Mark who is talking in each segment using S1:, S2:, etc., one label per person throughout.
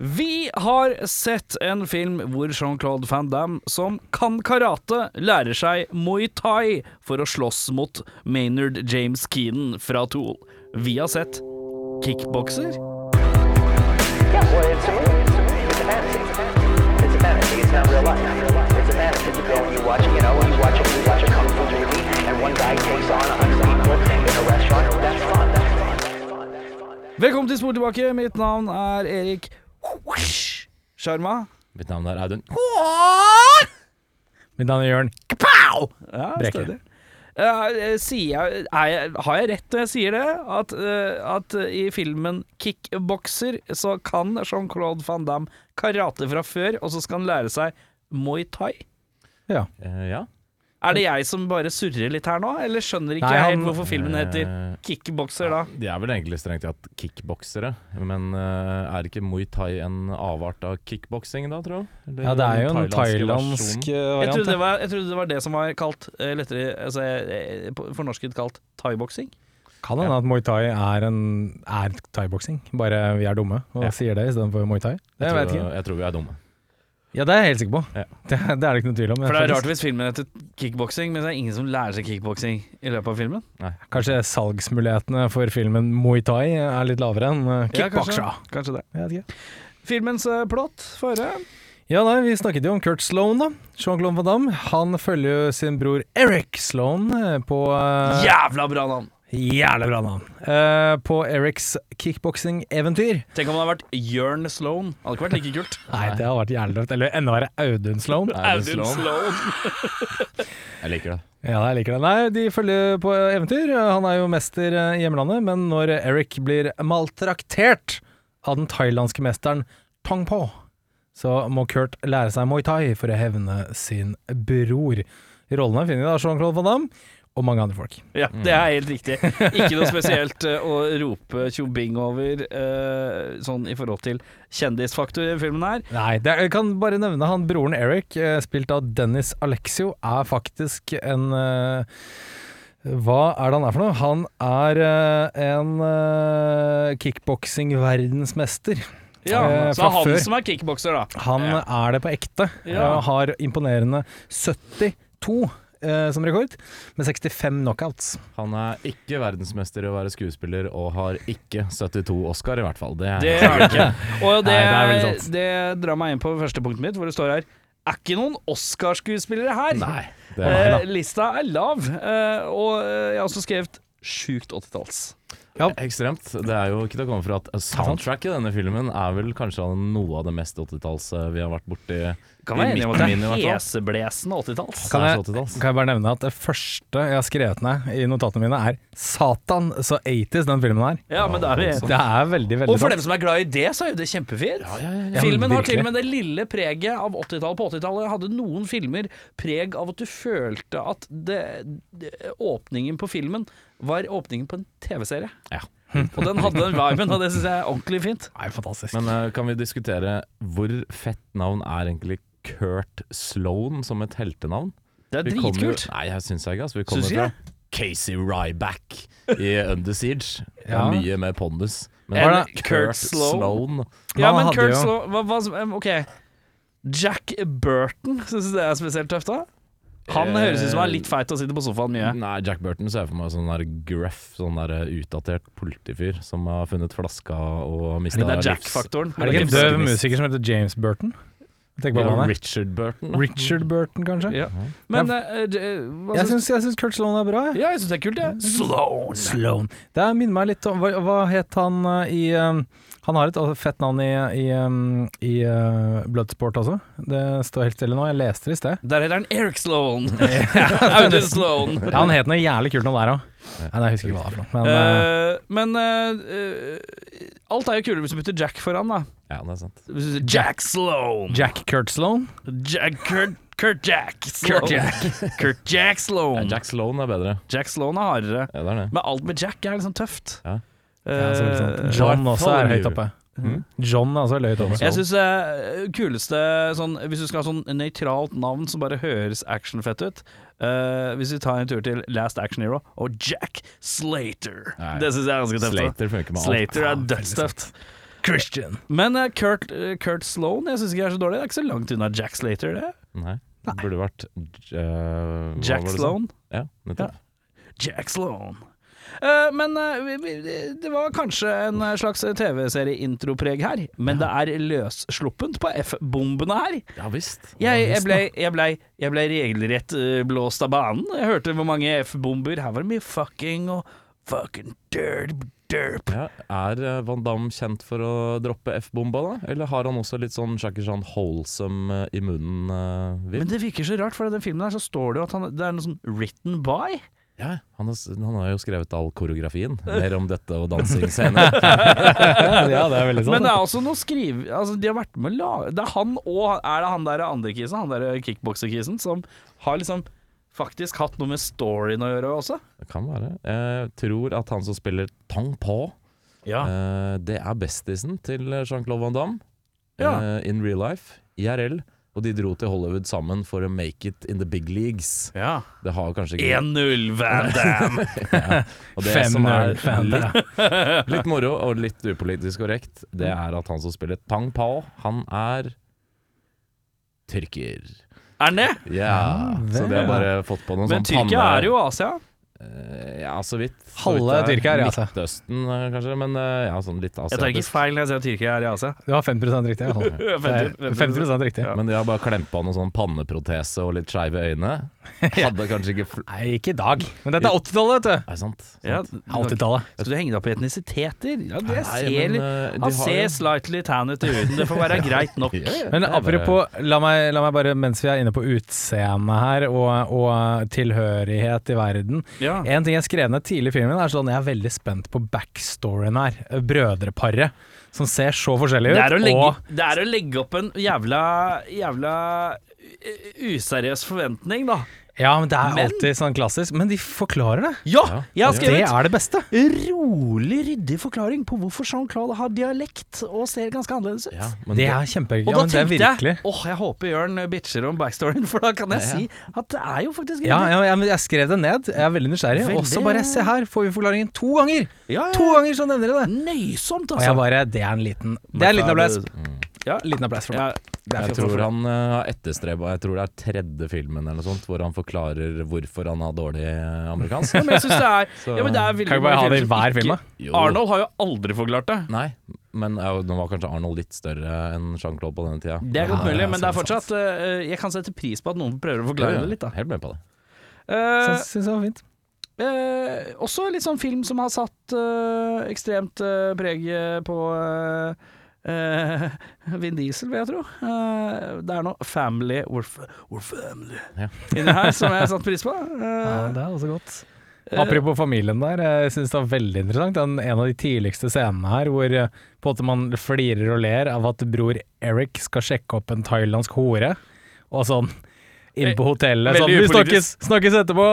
S1: Vi har sett en film hvor Jean-Claude Van Damme, som kan karate, lærer seg muay thai for å slåss mot Maynard James Keenan fra Tool. Vi har sett Kickbokser.
S2: Yeah, well, it's a movie. It's a fantasy. It's a fantasy. It's not real life. It's a fantasy. You go and you watch, you know, you watch a, you watch a kung fu movie, and one guy takes on a hundred people in a restaurant. That's fun. That's fun. That's fun.
S1: Velkommen til Spor tilbake. Mitt navn er Erik Sjarma.
S3: Mitt navn er Audun.
S4: Mitt navn er Jørn.
S1: Ja,
S4: Brekke.
S1: stødig. Eh, eh, sier jeg, er jeg, har jeg rett når jeg sier det? At, eh, at eh, i filmen 'Kickbokser' så kan Jean-Claude Van Damme karate fra før, og så skal han lære seg muay thai?
S4: Ja.
S3: Eh, ja.
S1: Er det jeg som bare surrer litt her nå, eller skjønner ikke
S4: Nei,
S1: jeg
S4: han-
S1: helt hvorfor filmen heter
S3: Eh,
S1: 'Kickbokser' da?
S3: De er vel egentlig strengt tatt kickboksere, men eh, er ikke muay thai en avart av kickboksing da, tro? Eller
S4: ja, det er jo en
S3: den thailandske
S4: thailandsk
S3: versjonen?
S4: eh,
S1: Jeg
S4: variant.
S1: trodde, det var, jeg trodde det var det som var kalt eh, lettere altså, eh, på- fornorsket kalt thaiboksing.
S4: ja. Kan hende at muay thai er, en, er thaiboksing, bare vi er dumme og
S3: Ja.
S4: sier det istedenfor muay thai. Det
S3: Jeg
S4: vet
S3: tror,
S4: ikke.
S3: jeg tror vi er dumme.
S4: Ja, det er jeg helt sikker på.
S3: Ja.
S4: Det, det er det ikke noe tvil om.
S1: For det er
S4: Faktisk.
S1: rart hvis filmen heter kickboksing, men det er ingen som lærer seg kickboksing i løpet av filmen.
S4: Kanskje salgsmulighetene for filmen muay thai er litt lavere enn eh,
S1: Ja, kanskje.
S4: kickboksere.
S1: Kanskje det.
S4: Jeg vet ikke.
S1: Filmens eh, plott, få høre.
S4: Ja, nei, Vi snakket jo om Kurt Sloan, da. Jean-Claude Van Damme. Han følger jo sin bror Eric Sloan eh, på eh,
S1: Jævla bra navn!
S4: Jævlig bra navn. Eh, på Erics kickboksing-eventyr.
S1: Tenk om det hadde vært Jørn Sloan. Hadde ikke vært like kult.
S4: Nei, det har vært jævlig rått. Eller enda verre, Audun Sloan.
S3: Er det
S1: Audun
S3: Sloan?
S1: Sloan.
S3: Jeg liker det.
S4: Ja, jeg liker det. Nei, de følger på eventyr. Han er jo mester eh, i hjemlandet, men når Eric blir maltraktert av den thailandske mesteren Tong Po, så må Kurt lære seg muay thai for å hevne sin bror. Rollene finner vi da Jean-Claude Van Damme og mange andre folk.
S1: Ja, det er helt riktig. Ikke noe spesielt eh, å rope tjobing over eh, sånn i forhold til kjendisfaktor i filmen her.
S4: Nei, det, jeg kan bare nevne han broren Eric, eh, spilt av Dennis Alexio, er faktisk en eh, Hva er det han er for noe? Han er eh, en eh, kickboksing-verdensmester.
S1: Ja,
S4: Eh,
S1: så det
S4: fra
S1: er han
S4: før.
S1: som er kickbokser, da.
S4: Han er det på ekte,
S1: Ja.
S4: og har imponerende 72 eh, som rekord, med 65 knockouts.
S3: Han er ikke verdensmester i å være skuespiller, og har ikke 72 Oscar, i hvert fall. Det er
S1: Det er det ikke. Og det,
S4: Nei, det er veldig sant.
S1: det drar meg inn på første punktet mitt, hvor det står her Er ikke noen Oscarskuespillere her?
S3: Nei. Det er,
S1: Eh, lista er lav, eh, og eh, jeg har også skrevet sjukt 80-talls.
S3: Ekstremt. Det er jo ikke til å komme fra at soundtracket i denne filmen er vel kanskje noe av det mest 80-talls vi har vært borti.
S1: Kan være
S3: I
S1: enig om at det
S3: midten min i
S1: er
S3: hvert fall.
S1: heseblesende 80-talls.
S4: Kan jeg,
S3: Særs 80-talls.
S4: kan jeg bare nevne at det første jeg har skrevet ned i notatene mine, er 'Satan så 80s', den filmen her.
S1: Ja, men det er vi
S3: Sånn.
S4: Det er veldig, veldig
S1: Og for
S4: sant.
S1: dem som er glad i det, så er jo det kjempefint.
S4: Altså. ja.
S1: Filmen har
S4: Virkelig.
S1: til og med det lille preget av 80-tallet. På 80-tallet hadde noen filmer preg av at du følte at det, det, åpningen på filmen var åpningen på en TV-serie.
S3: Ja.
S1: Og den hadde den viben, og det syns jeg er ordentlig fint.
S4: Nei, fantastisk.
S3: Hm. Men eh, kan vi diskutere hvor fett navn er egentlig Kurt Sloan som et heltenavn?
S1: Det er
S3: Vi kommer jo-
S1: dritkult.
S3: Nei, jeg syns jeg ikke. Altså, vi
S1: Syns
S3: kommer
S1: ikke
S3: fra Casey Ryback i Under Siege. Det er
S4: Ja.
S3: Mye mer pondus. Men
S1: Enn
S3: var det
S1: Kurt Sloan?
S4: Men
S1: Ja,
S4: han
S1: men
S4: hadde
S1: Kurt
S4: jo-
S1: Sloan hva, hva, som- Ok, Jack Burton, syns du det er spesielt tøft, da? Han
S3: Eh, mm.
S1: høres ut som han er litt feit og sitter på sofaen mye.
S3: Nei, Jack Burton ser jeg for meg sånn der gruff, sånn der utdatert politifyr som har funnet flaska og mista
S1: Det er Jack-faktoren.
S4: Er det ikke en
S3: det er
S4: døv
S3: ikke-
S4: musiker som heter James Burton? Tenk på hva han er.
S3: Richard Burton. da.
S4: Richard Burton, kanskje?
S1: Ja. Men eh, eh, hva
S4: Jeg Mm.
S1: syns
S4: syns, jeg syns Kurt Sloan er bra. jeg.
S1: Ja, jeg syns det er kult, jeg. Sloan.
S4: Sloan. Det her minner meg litt om Hva, hva het han eh, i eh, Han har et fett navn i, i, eh, i eh, Bloodsport også. Det står helt stille nå. Jeg leste det i sted.
S1: Der heter han Eric Sloan. Audun Sloan.
S4: Ja, han het noe jævlig kult noe der òg. Nei, jeg husker ikke hva det var for noe. Men, eh,
S1: Eh, men eh, eh, alt er jo kulere hvis du putter Jack foran, da.
S3: Ja, det er sant.
S1: Hvis du sier Jack Sloan.
S4: Jack Kurt Sloan.
S1: Jack Kurt, Kurt Jack Sloan.
S4: Kurt
S1: Kurt Jack
S3: Ja,
S1: Sloan.
S3: Jack Sloan er bedre.
S1: Jack Sloan er hardere.
S3: Ja, det er det.
S1: Men alt med Jack er liksom tøft.
S3: Ja.
S4: Ja, så er det sant.
S1: Eh,
S4: John også er
S3: Bartholomew.
S4: høyt oppe.
S3: Mhm.
S4: John er også høyt oppe.
S1: Mm? jeg syns eh, kuleste sånn, Hvis du skal ha sånn nøytralt navn som bare høres actionfett ut eh, Hvis vi tar en tur til Last Action Hero og Jack Slater.
S3: Nei.
S1: Det syns jeg er ganske tøft. da.
S3: Slater funker med alt.
S1: Slater er dødstøft.
S4: Christian.
S1: Men eh, Kurt, eh, Kurt Sloan jeg syns ikke er så dårlig. Det er ikke så langt unna Jack Slater, det.
S3: Nei. Det burde vært eh, hva
S1: Jack
S3: var det
S1: Sloan.
S3: som- Ja, nettopp.
S1: Jack Sloan. Eh, men eh, vi- vi- det var kanskje en eh, slags TV-serie-intropreg her, men det er løssluppent på F-bombene her.
S3: Ja, visst.
S1: Jeg, jeg, ble, jeg, ble, jeg ble regelrett eh, blåst av banen. Jeg hørte hvor mange F-bomber. Her var det mye fucking og fucking derp, derp.
S3: Ja, er eh, Van Damme kjent for å droppe F-bomba, da? Eller har han også litt sånn Jackie Chan Holsome i munnen? eh, vibb?
S1: Men det virker så rart, for i den filmen her så står det jo at han, det er noe sånn written by.
S3: ja, han, har, s- han har jo skrevet all koreografien. Mer om dette og dansing senere.
S4: Ja, det er veldig sånn.
S1: Men det er også noe skriv... Altså, de har vært med å lage Det er han og Er det han der andre kisen, han der kickbokserkisen, som har liksom faktisk hatt noe med storyen å gjøre også?
S3: Det kan være. Jeg tror at han som spiller Tang Po,
S1: Ja.
S3: eh, det er bestisen til Jean-Claude Van Damme.
S1: Ja.
S3: eh, in real life, IRL. Og de dro til Hollywood sammen for å make it in the big leagues.
S1: ja.
S3: Det har kanskje ikke
S1: 1-0, Van Damme!
S3: Og det som er
S4: 5-0, 5-0.
S3: litt, litt moro og litt upolitisk korrekt, det er at han som spiller Tang Pao, han er tyrker.
S1: er den det?
S3: Ja, så det har bare fått på noen
S1: Men
S3: sånn
S1: Tyrkia er jo Asia.
S3: Eh, Ja, så vidt. så
S4: Halve
S3: vidt det
S4: Tyrkia er i Asia.
S3: Midtøsten, eh, kanskje, men eh, ja, sånn litt
S1: altså. Jeg tar ikke
S3: asiatisk.
S1: feil når jeg sier at Tyrkia er i Asia.
S4: Du har 50 riktig. i hvert fall. Det er 50 riktig.
S1: Ja.
S3: Men de har bare klempa noen sånn panneprotese og litt skeive øyne. Hadde kanskje ikke fl
S4: Nei, ikke i dag. Men dette er 80-tallet, vet du.
S3: Nei, sant. sant.
S1: Ja, skal
S4: 80-tallet.
S1: du henge deg opp i etnisiteter? Ja, det
S3: Nei,
S1: ser
S3: men,
S1: litt
S3: eh, de
S1: Han
S3: har
S1: ser
S3: jo-
S1: slightly tan ut i huden, det får være greit nok.
S3: Ja, ja,
S4: Men
S3: det er bare-
S4: apropos, la meg, la meg bare, mens vi er inne på utseendet her, og, og tilhørighet i verden
S1: Ja.
S4: En ting jeg skrev ned tidlig i filmen, er sånn jeg er veldig spent på backstoryen her. Brødreparet som ser så forskjellig ut.
S1: Det er, å legge,
S4: og
S1: det er å legge opp en jævla jævla u- useriøs forventning, da.
S4: Ja, men det er
S1: Men-
S4: alltid sånn klassisk. Men de forklarer det.
S1: Ja! Jeg har
S4: Det
S1: skrevet
S4: er det beste.
S1: rolig, ryddig forklaring på hvorfor Jean-Claude har dialekt og ser ganske annerledes ut.
S3: Ja, men
S4: Det
S3: det-
S4: er kjempegøy.
S1: Og da
S4: Ja, men det er
S1: tenkte jeg
S4: virkelig
S1: åh, jeg håper Jørn bitcher om backstoryen, for da kan jeg
S3: Ja, ja.
S1: si at det er jo faktisk
S4: ja, ja, ja, men jeg skrev det ned. Jeg er veldig nysgjerrig.
S1: Veldig-
S4: Og så bare se her, får vi forklaringen to ganger!
S1: Ja, ja,
S4: To
S1: ja.
S4: ganger så nevner de det!
S1: Nøysomt,
S4: Og jeg
S1: altså. Mm.
S4: bare Det er en liten Det er en liten applaus.
S1: Ja,
S4: Liten applaus for
S1: ja,
S4: meg. Det er
S3: Jeg
S4: fint.
S3: tror han eh, har etterstreba Jeg tror det er tredje filmen eller noe sånt hvor han forklarer hvorfor han har dårlig eh, amerikansk.
S1: men jeg synes det er, ja, men det er veldig
S4: Kan vi bare ha
S1: mange
S4: det i
S1: filmer som
S4: hver film,
S1: ikke-
S4: da?
S3: Jo.
S1: Arnold har jo aldri forklart det.
S3: Nei, men ja, nå var kanskje Arnold litt større enn Jean-Claude på denne tida.
S1: Det er godt mulig,
S3: Ja,
S1: men det er
S3: sant,
S1: fortsatt
S3: sant.
S1: eh, Jeg kan sette pris på at noen prøver å
S3: Ja,
S1: forklare
S3: ja,
S1: det litt, da.
S3: Helt med på det.
S1: Eh,
S4: Så synes jeg var fint.
S1: eh, også litt sånn film som har satt eh, ekstremt eh, preg eh, på eh, eh, Vin Diesel, vil jeg tro. Eh, det er noe 'family we're, f- we're family'
S3: Ja.
S1: inni her som jeg har satt pris på. Eh,
S4: Ja, det er også godt. Apropos familien der, jeg syns det var veldig interessant. Den, en av de tidligste scenene her hvor eh, på en måte man flirer og ler av at bror Eric skal sjekke opp en thailandsk hore, og sånn inn på hotellet
S1: veldig
S4: sånn Vi snakkes,
S1: upolitisk.
S4: snakkes etterpå!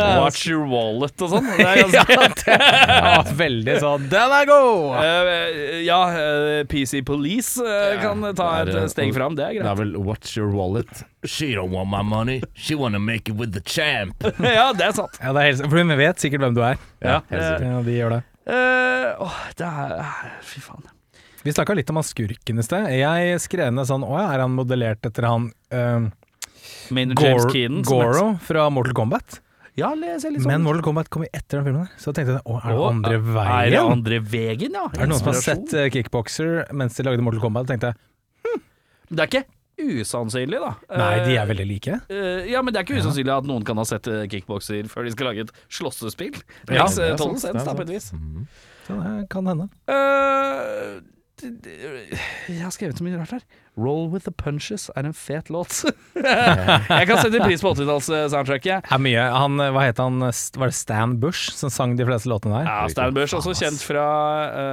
S1: Watch your wallet og sånn. Det er ganske
S4: ja, det var veldig sånn Den er god!
S1: Eh, ja, eh, PC Police eh,
S3: Ja,
S1: kan ta
S3: det
S1: et
S3: er-
S1: eh, steg fram, det er
S3: Det
S1: greit.
S3: er vel 'Watch your wallet'. She don't want my money, she wanna make it with the champ.
S1: ja, det er sant.
S4: Ja, det er helt, for hun vet sikkert hvem du er.
S1: Ja,
S3: helt
S1: eh,
S3: sikkert.
S4: Ja, de gjør det.
S1: Eh, Åh, det er eh, Fy faen.
S4: Vi snakka litt om han skurken i sted. Jeg skrev ned sånn Å ja, er han modellert etter han eh,
S1: Maynard James
S4: Gor
S1: Keenan. som
S4: Goro fra Mortal Kombat?
S1: heter- Ja, det ser litt sånn
S4: Men Mortal Kombat kom jo etter den filmen, her, så tenkte jeg å, er det
S1: Å,
S4: andre
S1: Er det
S4: veien?
S1: andre veien, ja?
S4: Er det noen som har
S1: Inspirasjon?
S4: sett eh, Kickboxer mens de lagde Mortal Kombat? Tenkte jeg
S1: Det er ikke usannsynlig, da.
S4: nei, de
S1: Eh,
S4: er veldig like.
S1: eh, ja, men det er ikke usannsynlig at noen kan ha sett eh, kickbokser før de skal lage et slåssespill.
S4: Ja,
S1: Makes, eh,
S3: det er
S1: total
S3: sant,
S1: sense,
S3: det er
S1: da, på et
S3: sant.
S1: vis.
S3: Mhm.
S4: Så det kan hende.
S1: Eh, d- d- jeg har skrevet så mye rart her. 'Roll with the punches' er en fet låt. jeg kan sette pris på 80-talls-soundtracket.
S4: Er mye. Han, eh, hva het han, eh, St- var det Stan Bush som sang de fleste låtene der?
S1: Ja, Stan Bush, også kjent fra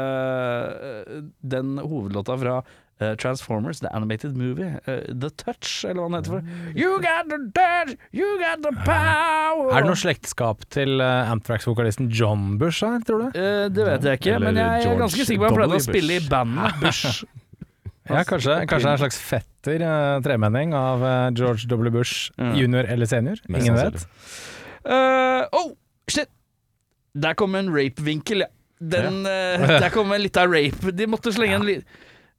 S1: eh, den hovedlåta fra eh, Transformers, The Animated Movie, eh, The Touch, eller hva den heter
S4: Mm.
S1: for You got the touch, you got the power
S4: Er det noe slektskap til eh, Amtrax-vokalisten John Bush her, tror du?
S1: Eh, Det vet jeg ikke,
S3: Eller
S1: men jeg er
S3: George
S1: ganske sikker på at han pleide
S3: W.
S1: å spille i
S3: Bush.
S1: bandet Bush.
S4: Ja, kanskje, kanskje en slags fetter eh, tremenning av eh, George W. Bush
S1: Ja.
S4: junior eller senior?
S3: Mest
S4: Ingen
S3: sannsynlig.
S4: vet.
S1: Eh, oh, shit! Der kom en rape-vinkel, ja. Den eh, Der kom litt av rape. De måtte slenge en liten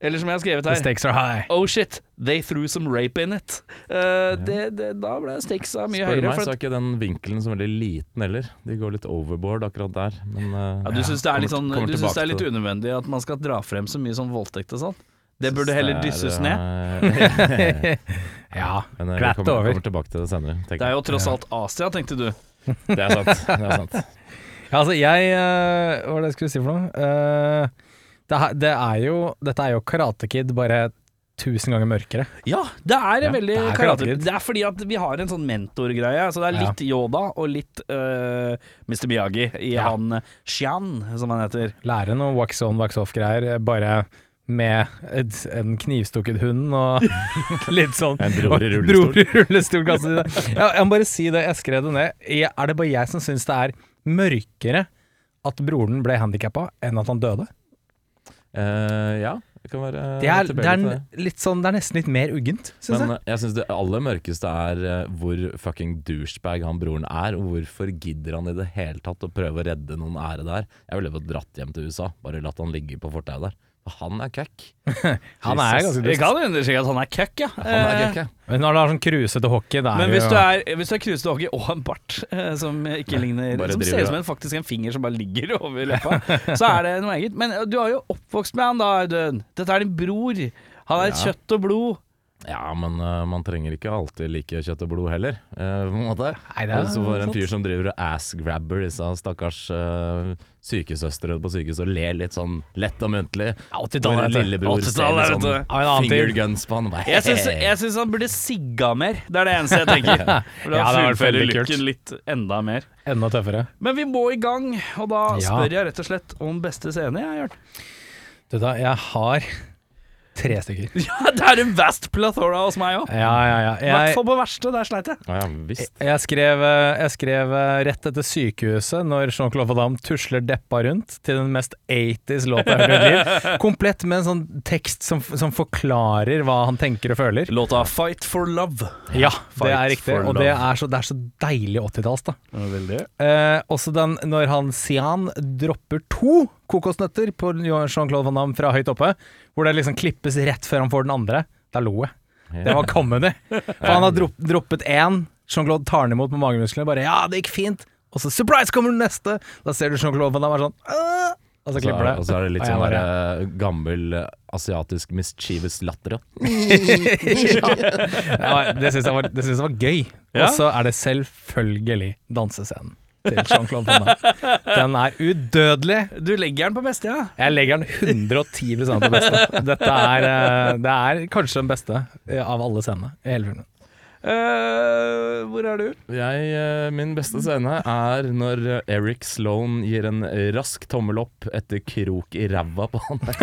S1: Eller som jeg har skrevet
S4: The
S1: her
S4: stakes are high.
S1: Oh shit, they threw some rape in it. Eh, det, det, da ble stakesa mye
S3: Spør
S1: høyere.
S3: meg,
S1: For
S3: så
S1: at,
S3: er ikke den vinkelen så veldig liten heller. De går litt overboard akkurat der. Men eh,
S1: ja, du syns det er litt, sånn,
S3: kommer- kommer
S1: du synes det er
S3: tilbake
S1: litt
S3: til
S1: unødvendig at man skal dra frem så mye sånn voldtekt og sånn? Det
S3: Synes
S1: burde heller
S3: er,
S1: dysses ned.
S3: eh,
S4: Ja,
S3: Men eh, vi
S4: glatt
S3: kommer,
S4: over.
S3: kommer tilbake til det senere.
S1: Det
S3: tenker
S1: er jo
S3: jeg.
S1: tross alt Asia, tenkte du.
S3: Det er sant. Det er sant.
S4: Ja, altså, jeg eh, Hva var det jeg skulle si for noe? Eh, det, her- det er jo Dette er jo Karate Kid, bare tusen ganger mørkere.
S1: Ja, det er
S3: Ja,
S1: veldig
S4: det er
S1: karate.
S4: Karate Kid.
S1: Det er fordi at vi har en sånn mentorgreie. Så det er litt Yoda og litt øh, Mr. Miyagi i
S4: Ja.
S1: han eh, Shian, som han heter.
S4: Lære noe wax on, wax off-greier, bare med et, en knivstukket hund og litt sånn
S3: En bror i
S4: og-
S3: rullestol.
S4: Bror i rullestol kaster de det. Ja, jeg må bare si det, jeg skrev det ned. Jeg, er det bare jeg som syns det er mørkere at broren ble handikappa, enn at han døde?
S3: Eh, ja, det kan være
S4: Det er, det
S3: tilbøyelig til
S4: er, litt sånn, det er nesten litt mer uggent, syns jeg.
S3: Men eh, jeg syns det aller mørkeste er eh, hvor fucking douchebag han broren er, og hvorfor gidder han i det hele tatt å prøve å redde noen ære der? Jeg ville fått dratt hjem til USA, bare latt han ligge på fortauet der. For han er kekk.
S4: Han er
S3: Jesus.
S4: ganske
S1: Vi
S4: dust.
S1: kan understreke at han er køkk, ja.
S3: Han er
S1: Eh,
S3: kekk, ja.
S4: Men når du har sånn krusete hockey, det er
S1: Men
S4: jo
S1: hvis du er, hvis du er krusete hockey og en bart eh, som ikke ligner
S3: bare
S1: Som
S3: driver,
S1: ser ut
S3: ja.
S1: som en, faktisk en finger som bare ligger over leppa, så er det noe eget. Men eh, du har jo oppvokst med han, da, Audun. Dette er din bror. Han er kjøtt og blod.
S3: Ja, men eh, man trenger ikke alltid like kjøtt og blod heller, eh, på en måte.
S4: Nei, det er
S3: Og så får en
S4: sant.
S3: fyr som driver og ass-grabber disse stakkars eh, sykesøstre på sykehus og ler litt sånn lett og muntlig.
S4: Ja, altså. 80-tallet,
S3: Hvor
S4: vet du.
S3: lillebror ser
S1: 80-tallet, vet
S3: litt sånn
S4: du. Ja, en annen tid.
S3: fingerguns på han. Bare,
S1: Jeg syns, jeg syns han burde sigga mer. Det er det eneste jeg tenker. For da
S4: Ja, det hadde vært
S1: fullfører
S4: veldig kult.
S1: lykken litt enda mer.
S4: enda tøffere.
S1: Men vi må i gang, og da
S4: Ja.
S1: spør jeg rett og slett om beste scene. Jeg, Jørn.
S4: Du, da, jeg har tre stykker.
S1: ja, det er en vast plethora hos meg òg.
S4: Ja, ja, ja.
S1: I hvert
S4: Jeg,
S1: fall på verste. Der sleit jeg.
S3: Ja, visst.
S4: jeg, skrev, eh, jeg skrev eh, rett etter sykehuset, når Jean-Claude Van Damme tusler deppa rundt til den mest 80s låta jeg har hørt i mitt liv. Komplett med en sånn tekst som, som forklarer hva han tenker og føler.
S1: Låta 'Fight for Love'.
S4: Ja,
S1: Fight
S4: det er riktig.
S1: for
S4: Og det
S1: love.
S4: er så, det er så deilig 80-talls, da.
S1: Veldig.
S4: Eh, også den når han Sian dropper to kokosnøtter på Jean-Claude Van Damme fra høyt oppe, hvor det liksom klippes rett før han får den andre. Da lo jeg. Det var comedy. For han har dropp, droppet én, Jean-Claude tar den imot med magemusklene, bare 'ja, det gikk fint', og så 'surprise, kommer den neste'! Da ser du Jean-Claude Van Damme er sånn «Åh!» Og så
S3: Så er,
S4: klipper det.
S3: og så er det litt
S4: Og jeg
S3: sånn der,
S4: bare,
S3: eh, gammel eh, asiatisk mischievous latter. ja.
S4: ja, det syns jeg, var- det synes jeg var gøy.
S1: eh, Ja.
S4: Og så er det selvfølgelig dansescenen til Jean-Claude Van Damme. Den er udødelig.
S1: Du legger den på beste, ja.
S4: Jeg legger den 110 på beste. Dette er, eh, det er kanskje den beste eh, av alle scenene i hele filmen.
S1: Eh, hvor er du?
S3: Jeg, eh, min beste scene er når eh, Eric Sloan gir en rask tommel opp etter krok i ræva på han der.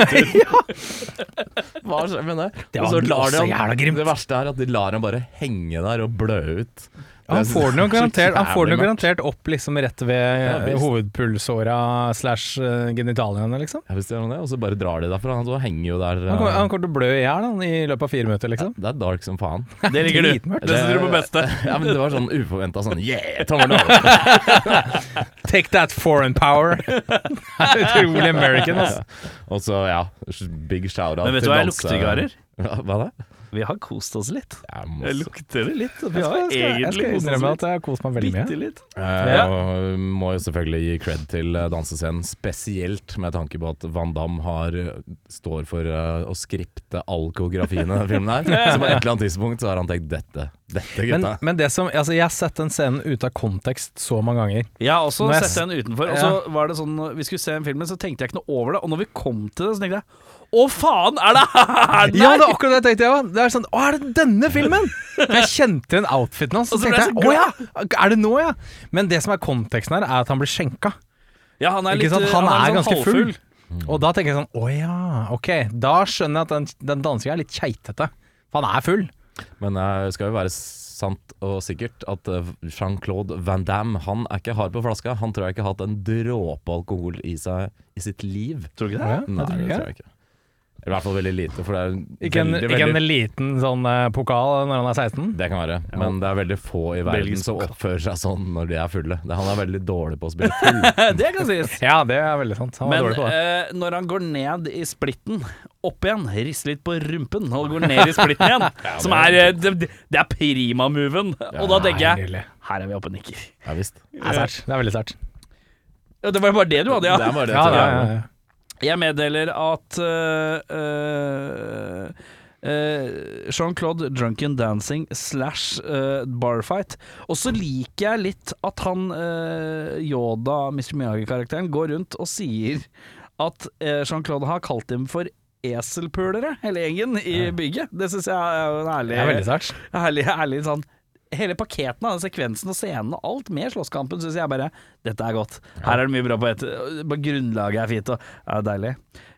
S3: Hva skjer med det?
S4: Det
S3: Og
S4: var
S3: så lar de
S4: også
S3: han-
S4: jævla grimt.
S3: Det verste er at de lar han bare henge der og blø ut.
S4: Han
S3: Det-
S4: får den jo garantert, han får den jo
S3: Jævlig mørkt.
S4: garantert opp liksom rett ved
S3: Ja,
S4: eh,
S3: visst.
S4: hovedpulsåra slash eh, genitaliene, liksom.
S3: Ja, hvis det er noe, det, og så bare drar de derfra. Han så henger jo der.
S4: Han kommer,
S3: eh,
S4: han kommer til å blø i hjel han, i løpet av fire minutter, liksom.
S3: Det er dark som faen.
S1: Det ligger du.
S4: Dritmørkt.
S1: Det sitter du på beste.
S3: Ja, men det var sånn uforventa sånn yeah, tommel opp!
S4: Take that foreign power! Utrolig American, altså.
S3: Og så, ja, big shout-out
S1: Men vet du hva jeg lukter, Garer?
S3: Ja, hva da?
S1: Vi har kost oss litt.
S3: Jeg
S1: Jeg
S3: må,
S1: lukter det litt. Vi
S4: Jeg
S1: har
S4: skal, jeg skal, jeg
S1: egentlig
S4: skal
S1: kost oss
S4: innrømme
S1: litt.
S4: at jeg har kost meg veldig mye.
S1: Bitte litt.
S3: eh,
S4: Ja.
S3: og må jo selvfølgelig gi cred til eh, dansescenen, spesielt med tanke på at Van Damme har, står for eh, å skripte all koreografien i denne filmen her. Så på et eller annet tidspunkt så har han tenkt dette. Dette,
S4: Men,
S3: gutta.
S4: men det som, altså, jeg har sett den scenen ute av kontekst så mange ganger.
S1: Jeg har også
S4: Når jeg
S1: sett den utenfor. Og så var det sånn når Vi skulle se den filmen, så tenkte jeg ikke noe over det. Og når vi kom til det, så tenkte jeg Å, faen, er det her?! den
S4: Ja,
S1: er?"
S4: det er akkurat det jeg tenkte jeg òg. Det er sånn Å, er det denne filmen? Jeg kjente igjen outfiten hans.
S1: Og
S4: Så
S1: så ble
S4: tenkte
S1: jeg
S4: jeg
S1: så
S4: Å ja! Er det nå, ja? Men det som er konteksten her, er at han blir skjenka.
S1: ja, han er
S4: Ikke
S1: litt
S4: sant? Han, er,
S1: litt
S4: ganske
S1: sånn
S4: full.
S1: halvfull.
S4: Og da tenker jeg sånn Å ja, ok. Da skjønner jeg at den, den dansingen er litt keitete. For han er full.
S3: Men eh, det skal jo være sant og sikkert at eh, Jean-Claude Van Damme Han er ikke hard på flaska. Han tror jeg ikke har hatt en dråpe alkohol i seg i sitt liv.
S1: Tror du ikke
S4: Å
S1: det?
S4: ja, jeg
S3: Nei, det
S4: tror ikke
S3: tror
S4: det.
S3: jeg ikke. Eller i hvert fall veldig lite, for det er
S4: Ikke en,
S3: veldig,
S4: ikke en
S3: veldig
S4: liten sånn eh, pokal når han er 16?
S3: det kan være, men det er veldig få i verden
S1: Belgisk
S3: som
S1: pokal.
S3: oppfører seg sånn når de er fulle. Det, han er veldig dårlig på å spille full.
S1: Det kan sies.
S4: Ja, det er veldig sant. Han var
S1: Men
S4: dårlig på det.
S1: eh, når han går ned i splitten, opp igjen, rister litt på rumpen og går ned i splitten igjen, som er eh, det, det er prima-moven. eh, og da tenker jeg
S4: Nydelig.
S1: Her er vi oppe og nikker.
S3: Ja visst.
S4: Det er sært. Det er veldig sært.
S1: Ja, Det var jo bare det du hadde,
S3: Det er
S1: ja.
S3: bare det.
S4: Ja,
S3: tror
S4: ja,
S3: jeg.
S4: ja, ja.
S1: Jeg meddeler at eh, eh, eh, Jean-Claude Drunken Dancing slash eh, Barfight. Og så liker jeg litt at han eh, Yoda, Mr. Miyagi-karakteren, går rundt og sier at eh, Jean-Claude har kalt dem for eselpulere, hele gjengen i bygget. Det syns jeg er en ærlig
S4: Det er veldig sært.
S1: Herlig, herlig sånn Hele paketen av den sekvensen og scenen og alt med slåsskampen syns jeg bare Dette er godt. Her er det mye bra på ett. Bare Grunnlaget er fint og ja, deilig.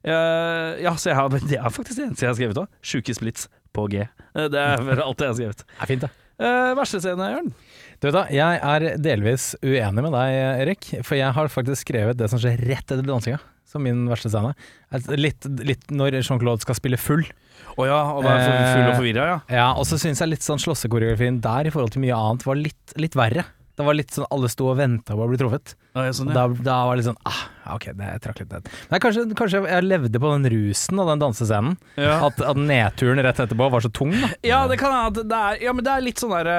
S1: Eh, ja, så jeg har, det er faktisk det eneste jeg har skrevet òg. Sjuke splits på G. Eh, Det er vel alt jeg har skrevet.
S4: Det er fint, det.
S1: Uh, verste scene, Jørn?
S4: Du vet da, Jeg er delvis uenig med deg, Erik. For jeg har faktisk skrevet det som skjer rett etter dansinga, som min verste scene. Altså, Litt, litt når Jean-Claude skal spille full.
S1: Å ja, og
S4: da er jeg for- full og
S1: forvirra, ja.
S4: Ja, Og så syns jeg litt sånn slåssekoreografien der i forhold til mye annet var litt, litt verre. Det var litt sånn alle sto og venta på å bli truffet.
S1: ja, sånn,
S4: Og
S1: ja.
S4: da, da var det litt sånn ah, ok, det trakk litt ned. Men jeg, kanskje, kanskje jeg levde på den rusen og den dansescenen.
S1: Ja.
S4: At, at nedturen rett etterpå var så tung, da.
S1: ja, det kan hende at det er Ja, men det er litt sånn derre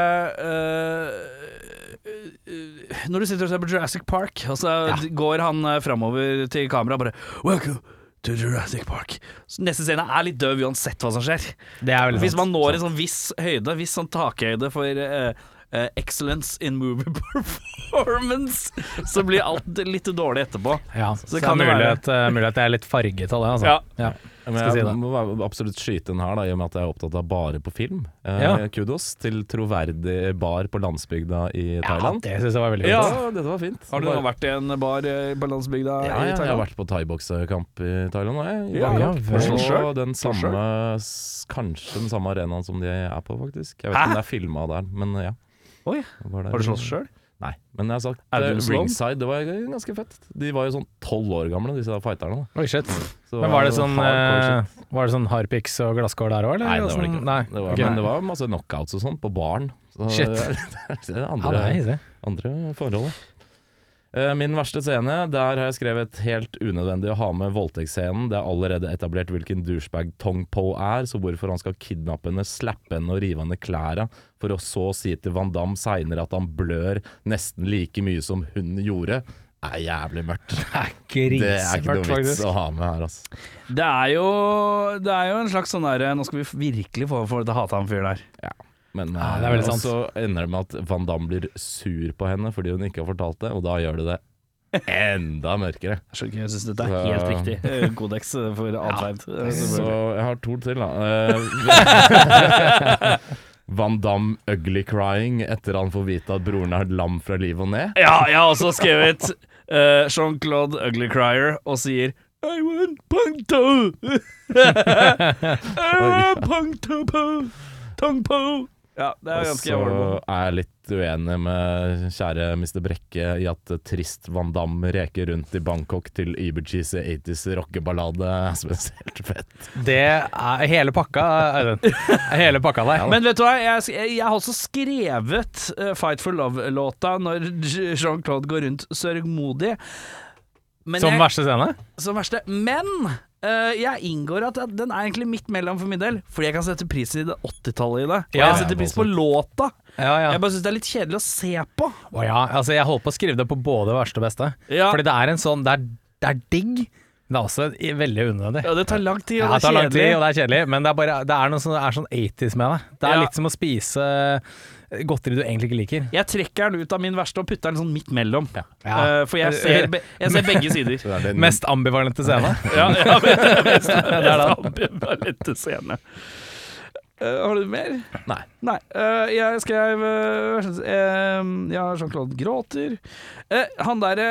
S1: eh, eh, Når du sitter og ser på Jurassic Park, og så går han uh, framover til kameraet bare Welcome to Jurassic Park. Så neste scene er litt døv uansett hva som skjer.
S4: Det er veldig
S1: Hvis
S4: sant.
S1: man når en sånn viss høyde, viss sånn takhøyde for eh, eh, excellence in movie performance, så blir alt litt dårlig etterpå.
S4: Ja, så,
S1: det
S4: det
S1: kan
S4: kan
S1: jo
S4: mulig,
S1: være-
S4: at, eh, mulig at jeg er litt farget av det, altså.
S1: Ja.
S3: Ja, Men
S4: Skal si
S3: jeg
S4: det.
S3: må være- absolutt skyte den her, da, i og med at jeg er opptatt av bare på film. Eh,
S4: Ja.
S3: Kudos til troverdig bar på landsbygda i
S4: Ja,
S3: Thailand.
S4: det syns jeg var veldig fint.
S1: Ja.
S3: Ja, dette var fint.
S1: Har du
S3: Bare-
S1: vært i en bar eh, på landsbygda i
S3: ja, ja, jeg har
S1: Thailand?
S3: vært på thaiboksekamp i Thailand. og Jeg, i
S1: Ja,
S3: Bangkok.
S4: ja, vel.
S3: på den samme, s- kanskje den samme arenaen som de er på, faktisk. Jeg vet ikke om det er filma der, men ja.
S1: Oi,
S3: jeg var der.
S1: Har du slåss sjøl?
S3: Nei, men jeg har sagt
S1: Er du
S3: eh,
S1: slått?
S3: ringside. Det var ganske fett. De var jo sånn tolv år gamle, disse fighterne. da.
S4: Oi, shit.
S3: Så
S4: Men var det sånn,
S3: hardcore shit.
S4: eh, var det sånn harpiks og glasskår der òg, eller?
S3: Nei, det var det
S4: Sånn-
S3: ikke.
S4: Nei.
S3: Det var,
S4: ok.
S3: Men det var masse knockouts og sånn på baren. Så
S4: Shit.
S3: det er
S4: ja,
S3: andre,
S4: det er hissig.
S3: andre forhold. Eh, Min verste scene, der har jeg skrevet helt unødvendig å ha med voldtektsscenen. Det er allerede etablert hvilken douchebag Tong Po er, så hvorfor han skal kidnappe henne, slappe henne og rive henne klæra, for å så si til Van Damme seinere at han blør nesten like mye som hun gjorde, er jævlig mørkt. Det er ikke
S4: Grisemørkt,
S3: noe vits
S4: faktisk.
S3: å ha med her, altså.
S1: Det er jo, det er jo en slags sånn derre Nå skal vi virkelig få folk til å hate han fyren der.
S3: Men
S4: Ja, det
S3: eh,
S4: er veldig
S3: og
S4: sant.
S3: så ender det med at Van Damme blir sur på henne fordi hun ikke har fortalt det, og da gjør det det enda mørkere.
S1: Jeg skjønner ikke, jeg syns dette er helt
S3: Så-
S1: riktig eh, kodeks eh, for atferd. eh,
S3: Så
S1: selvfølgelig.
S3: jeg har to til, da. Eh, Van Damme ugly crying etter han får vite at broren er lam fra liv og ned.
S1: Ja, jeg har også skrevet eh, Jean-Claude Ugly Crier og sier I want punkto! punkto po! Tong po! Ja, det er
S3: Og
S1: ganske
S3: så
S1: jævlig.
S3: er jeg litt uenig med kjære Mr. Brekke i at trist Van Damme reker rundt i Bangkok til Ibercheese 80s rockeballade er spesielt fett.
S4: Det er hele pakka, Audun. Hele pakka der.
S1: Men vet du hva, jeg, jeg har også skrevet eh, Fight for Love-låta når J- Jean-Claude går rundt sørgmodig. Men
S4: Som
S1: jeg,
S4: verste scene?
S1: som verste. Men eh, jeg inngår at den er egentlig midt mellom for min del, fordi jeg kan sette pris i det 80-tallet i det. Og
S4: Ja.
S1: jeg setter pris på låta.
S4: Ja, ja.
S1: Jeg bare syns det er litt kjedelig å se på.
S4: Å ja, altså jeg holdt på å skrive det på både verste og beste.
S1: Ja.
S4: Fordi det er en sånn Det er, det er digg, men det er også i- veldig unødvendig.
S1: Ja, det tar lang tid,
S4: Ja,
S1: og
S4: det tar
S1: det er
S4: lang tid, og
S1: kjedelig.
S4: det er kjedelig, men det er, bare, det er noe som er sånn 80s med det. Det er
S1: Ja.
S4: litt som å spise eh, godteri du egentlig ikke liker.
S1: Jeg trekker den ut av min verste og putter den sånn midt mellom.
S4: Ja.
S1: Eh, for jeg ser, be jeg ser begge sider.
S3: Det er den
S4: Mest ambivalente scene.
S1: Ja, ja, men det er mest
S4: det er det.
S1: ambivalente scene. Eh, har du mer?
S3: Nei.
S1: Nei. eh, jeg skrev eh, hva skal jeg si, eh, Ja, Jean-Claude gråter. Eh, han derre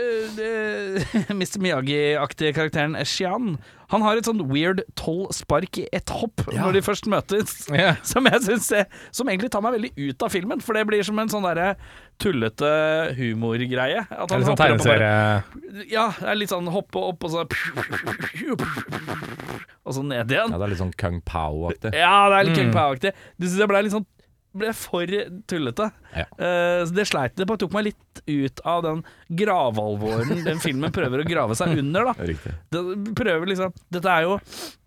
S1: eh, eh, Mr. Miyagi-aktige karakteren Shian Han har et sånn weird tolv spark i ett hopp når de først møtes.
S4: Ja.
S1: Som jeg synes er- Som egentlig tar meg veldig ut av filmen, for det blir som en sånn derre tullete humorgreie. At
S4: Eller sånn
S1: hopper opp og bare-
S4: tegneserie
S1: Ja, det er litt sånn hoppe opp og så Og så ned igjen.
S3: Ja, det er litt sånn Kung Pao-aktig.
S1: Ja, det er litt King Pow-aktig. Du syns jeg ble litt sånn ble for tullete.
S3: Ja.
S1: Eh, så det sleit det på. Tok meg litt ut av den gravalvoren den filmen prøver å grave seg under. da
S3: Riktig.
S1: Det prøver liksom Dette er jo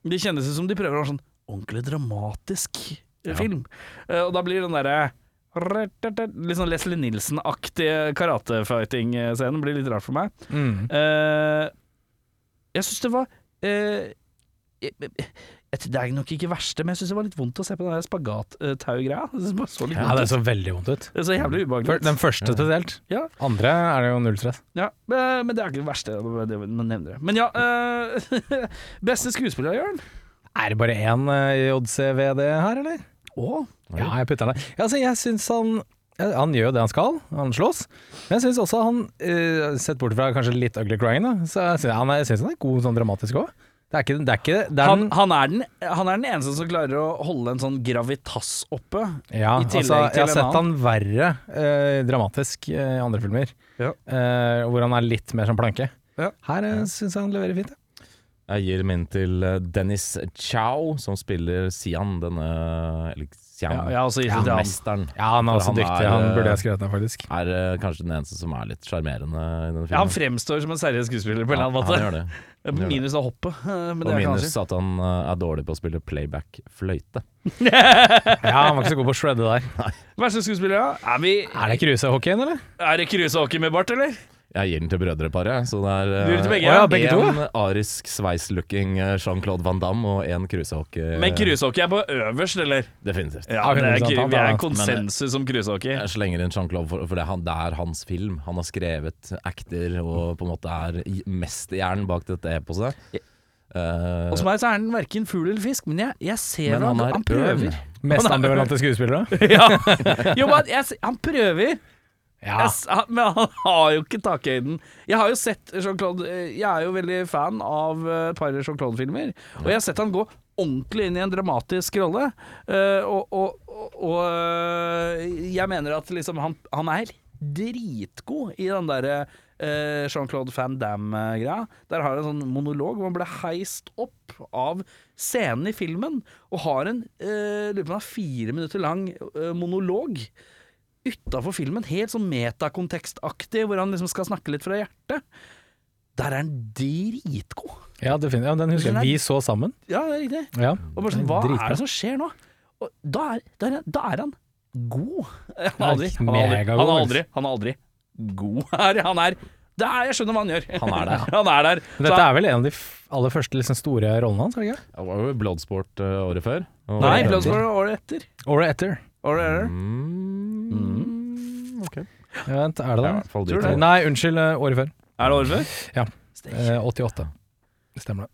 S1: Det kjennes ut som de prøver å ha sånn ordentlig dramatisk eh, film. Eh, og da blir den derre Litt sånn Leslie Nilsen-aktige karatefighting-scenen blir litt rart for meg.
S4: Mm.
S1: Eh, jeg syns det var eh, jeg, jeg, jeg- Det er nok ikke verste, men jeg syns det var litt vondt å se på den der spagattau-greia. Det synes jeg bare så litt
S4: Ja,
S1: vondt
S4: det
S1: ut.
S4: så veldig vondt ut.
S1: Det er så jævlig
S4: For
S1: ubehagelig.
S4: Den første spesielt.
S1: Ja.
S4: Andre er det jo null stress.
S1: Ja, men men det er ikke det verste. det- det- Man nevner det. Men ja eh, Beste skuespiller, Jørn?
S4: Er det bare én eh, i JCVD her, eller?
S1: Å,
S4: Ja, jeg putter den der. Ja, altså, jeg syns han ja, han gjør jo det han skal, han slåss. Men jeg syns også han, eh, sett bort fra kanskje litt ugly crying, da, så jeg syns han, er- jeg synes han er god sånn dramatisk òg. Det er ikke det er ikke, det er
S1: han,
S4: den-
S1: han, er den, han er den eneste som klarer å holde en sånn gravitas oppe.
S4: ja,
S1: i tillegg til
S4: altså, Jeg
S1: en
S4: har sett han verre eh, dramatisk eh, i andre filmer,
S1: Ja.
S4: eh, hvor han er litt mer som planke.
S1: Ja.
S4: Her eh, syns jeg han leverer fint. ja.
S3: Jeg gir min til eh, Dennis Chow, som spiller Sian, denne Eller Sian,
S1: Ja, altså, jeg har også gitt det til han.
S3: mesteren.
S4: Ja, han er
S3: For
S4: også
S3: han
S4: dyktig.
S3: er,
S4: han
S3: eh,
S4: burde jeg skrevet ned, faktisk.
S3: Er eh, kanskje den eneste som er litt sjarmerende i denne
S1: Ja, han
S3: filmen.
S1: fremstår som en seriøs skuespiller på en eller annen
S3: han gjør
S1: måte.
S3: det. gjør det.
S1: Minus det hoppet. eh, Men det
S3: Og
S1: er ikke
S3: minus at han eh, er dårlig på å spille playback-fløyte.
S4: Ja, han var ikke så god på å shredde der.
S1: hans. Verste skuespiller, ja. Er, vi,
S4: Er det krusehockeyen, eller?
S1: er det Kruse med bart, eller?
S3: Jeg gir den til brødreparet. Så det er eh,
S1: Du gir den til begge?
S4: Å ja, begge to,
S3: en arisk sveis-looking eh, Jean-Claude Van Damme og en krusehockey.
S1: Men krusehockey er på øverst, eller?
S3: Definitivt.
S1: Ja, det er,
S4: 100%
S1: kru- vi er
S4: han, da.
S1: konsensus om krusehockey.
S3: Jeg slenger inn Jean-Claude, for, for det, er han, det er hans film. Han har skrevet, acter og på en måte er i- mesterhjernen bak dette eposet. Eh,
S1: Hos meg så er den verken fugl eller fisk, men jeg, jeg ser
S3: men
S1: han,
S3: han
S1: han,
S3: er
S1: prøver.
S3: ørn.
S4: Mest
S1: Han er-
S4: ambivalente skuespillere?
S1: ja. Jo, men jeg, se- han prøver,
S4: Ja.
S1: jeg, s- han- men han har jo ikke takhøyden. Jeg har jo sett Jean-Claude eh, Jeg er jo veldig fan av eh, et par Jean-Claude-filmer, og jeg har sett han gå ordentlig inn i en dramatisk rolle. eh, og og, og, og eh, jeg mener at liksom han, han er dritgod i den derre eh, Jean-Claude Van Damme-greia. Der har han en sånn monolog hvor han ble heist opp av scenen i filmen, og har en eh, lurer på om han har fire minutter lang eh, monolog utafor filmen, helt sånn metakontekstaktig, hvor han liksom skal snakke litt fra hjertet. Der er han dritgod.
S4: Ja, definitivt. Ja, den husker jeg. Vi så sammen.
S1: Ja, det er riktig.
S4: Ja.
S1: Og bare sånn, hva
S4: Dritbra.
S1: er det som skjer nå? Og da er, da er, han- da er han god. altså. Han er aldri, han er aldri,
S4: Megagod,
S1: han er
S4: faktisk.
S1: aldri, han er aldri god her. Han er det er, Jeg skjønner hva han gjør.
S3: Han er der.
S1: han er der. Så
S4: Dette er vel en av de f- aller første liksom, store rollene hans? er det ikke?
S3: det var jo Bloodsport eh, året før. Og-
S1: Nei, Bloodsport er året etter.
S4: Året etter.
S1: Året etter.
S3: Mm, ok.
S4: Ja, vent,
S3: Ja,
S4: er det
S3: i
S4: det?
S3: hvert fall de
S1: Tror
S3: to.
S1: det.
S4: Nei, unnskyld. eh, Året før.
S1: Er det året før?
S4: Eh, 88. Stemmer det.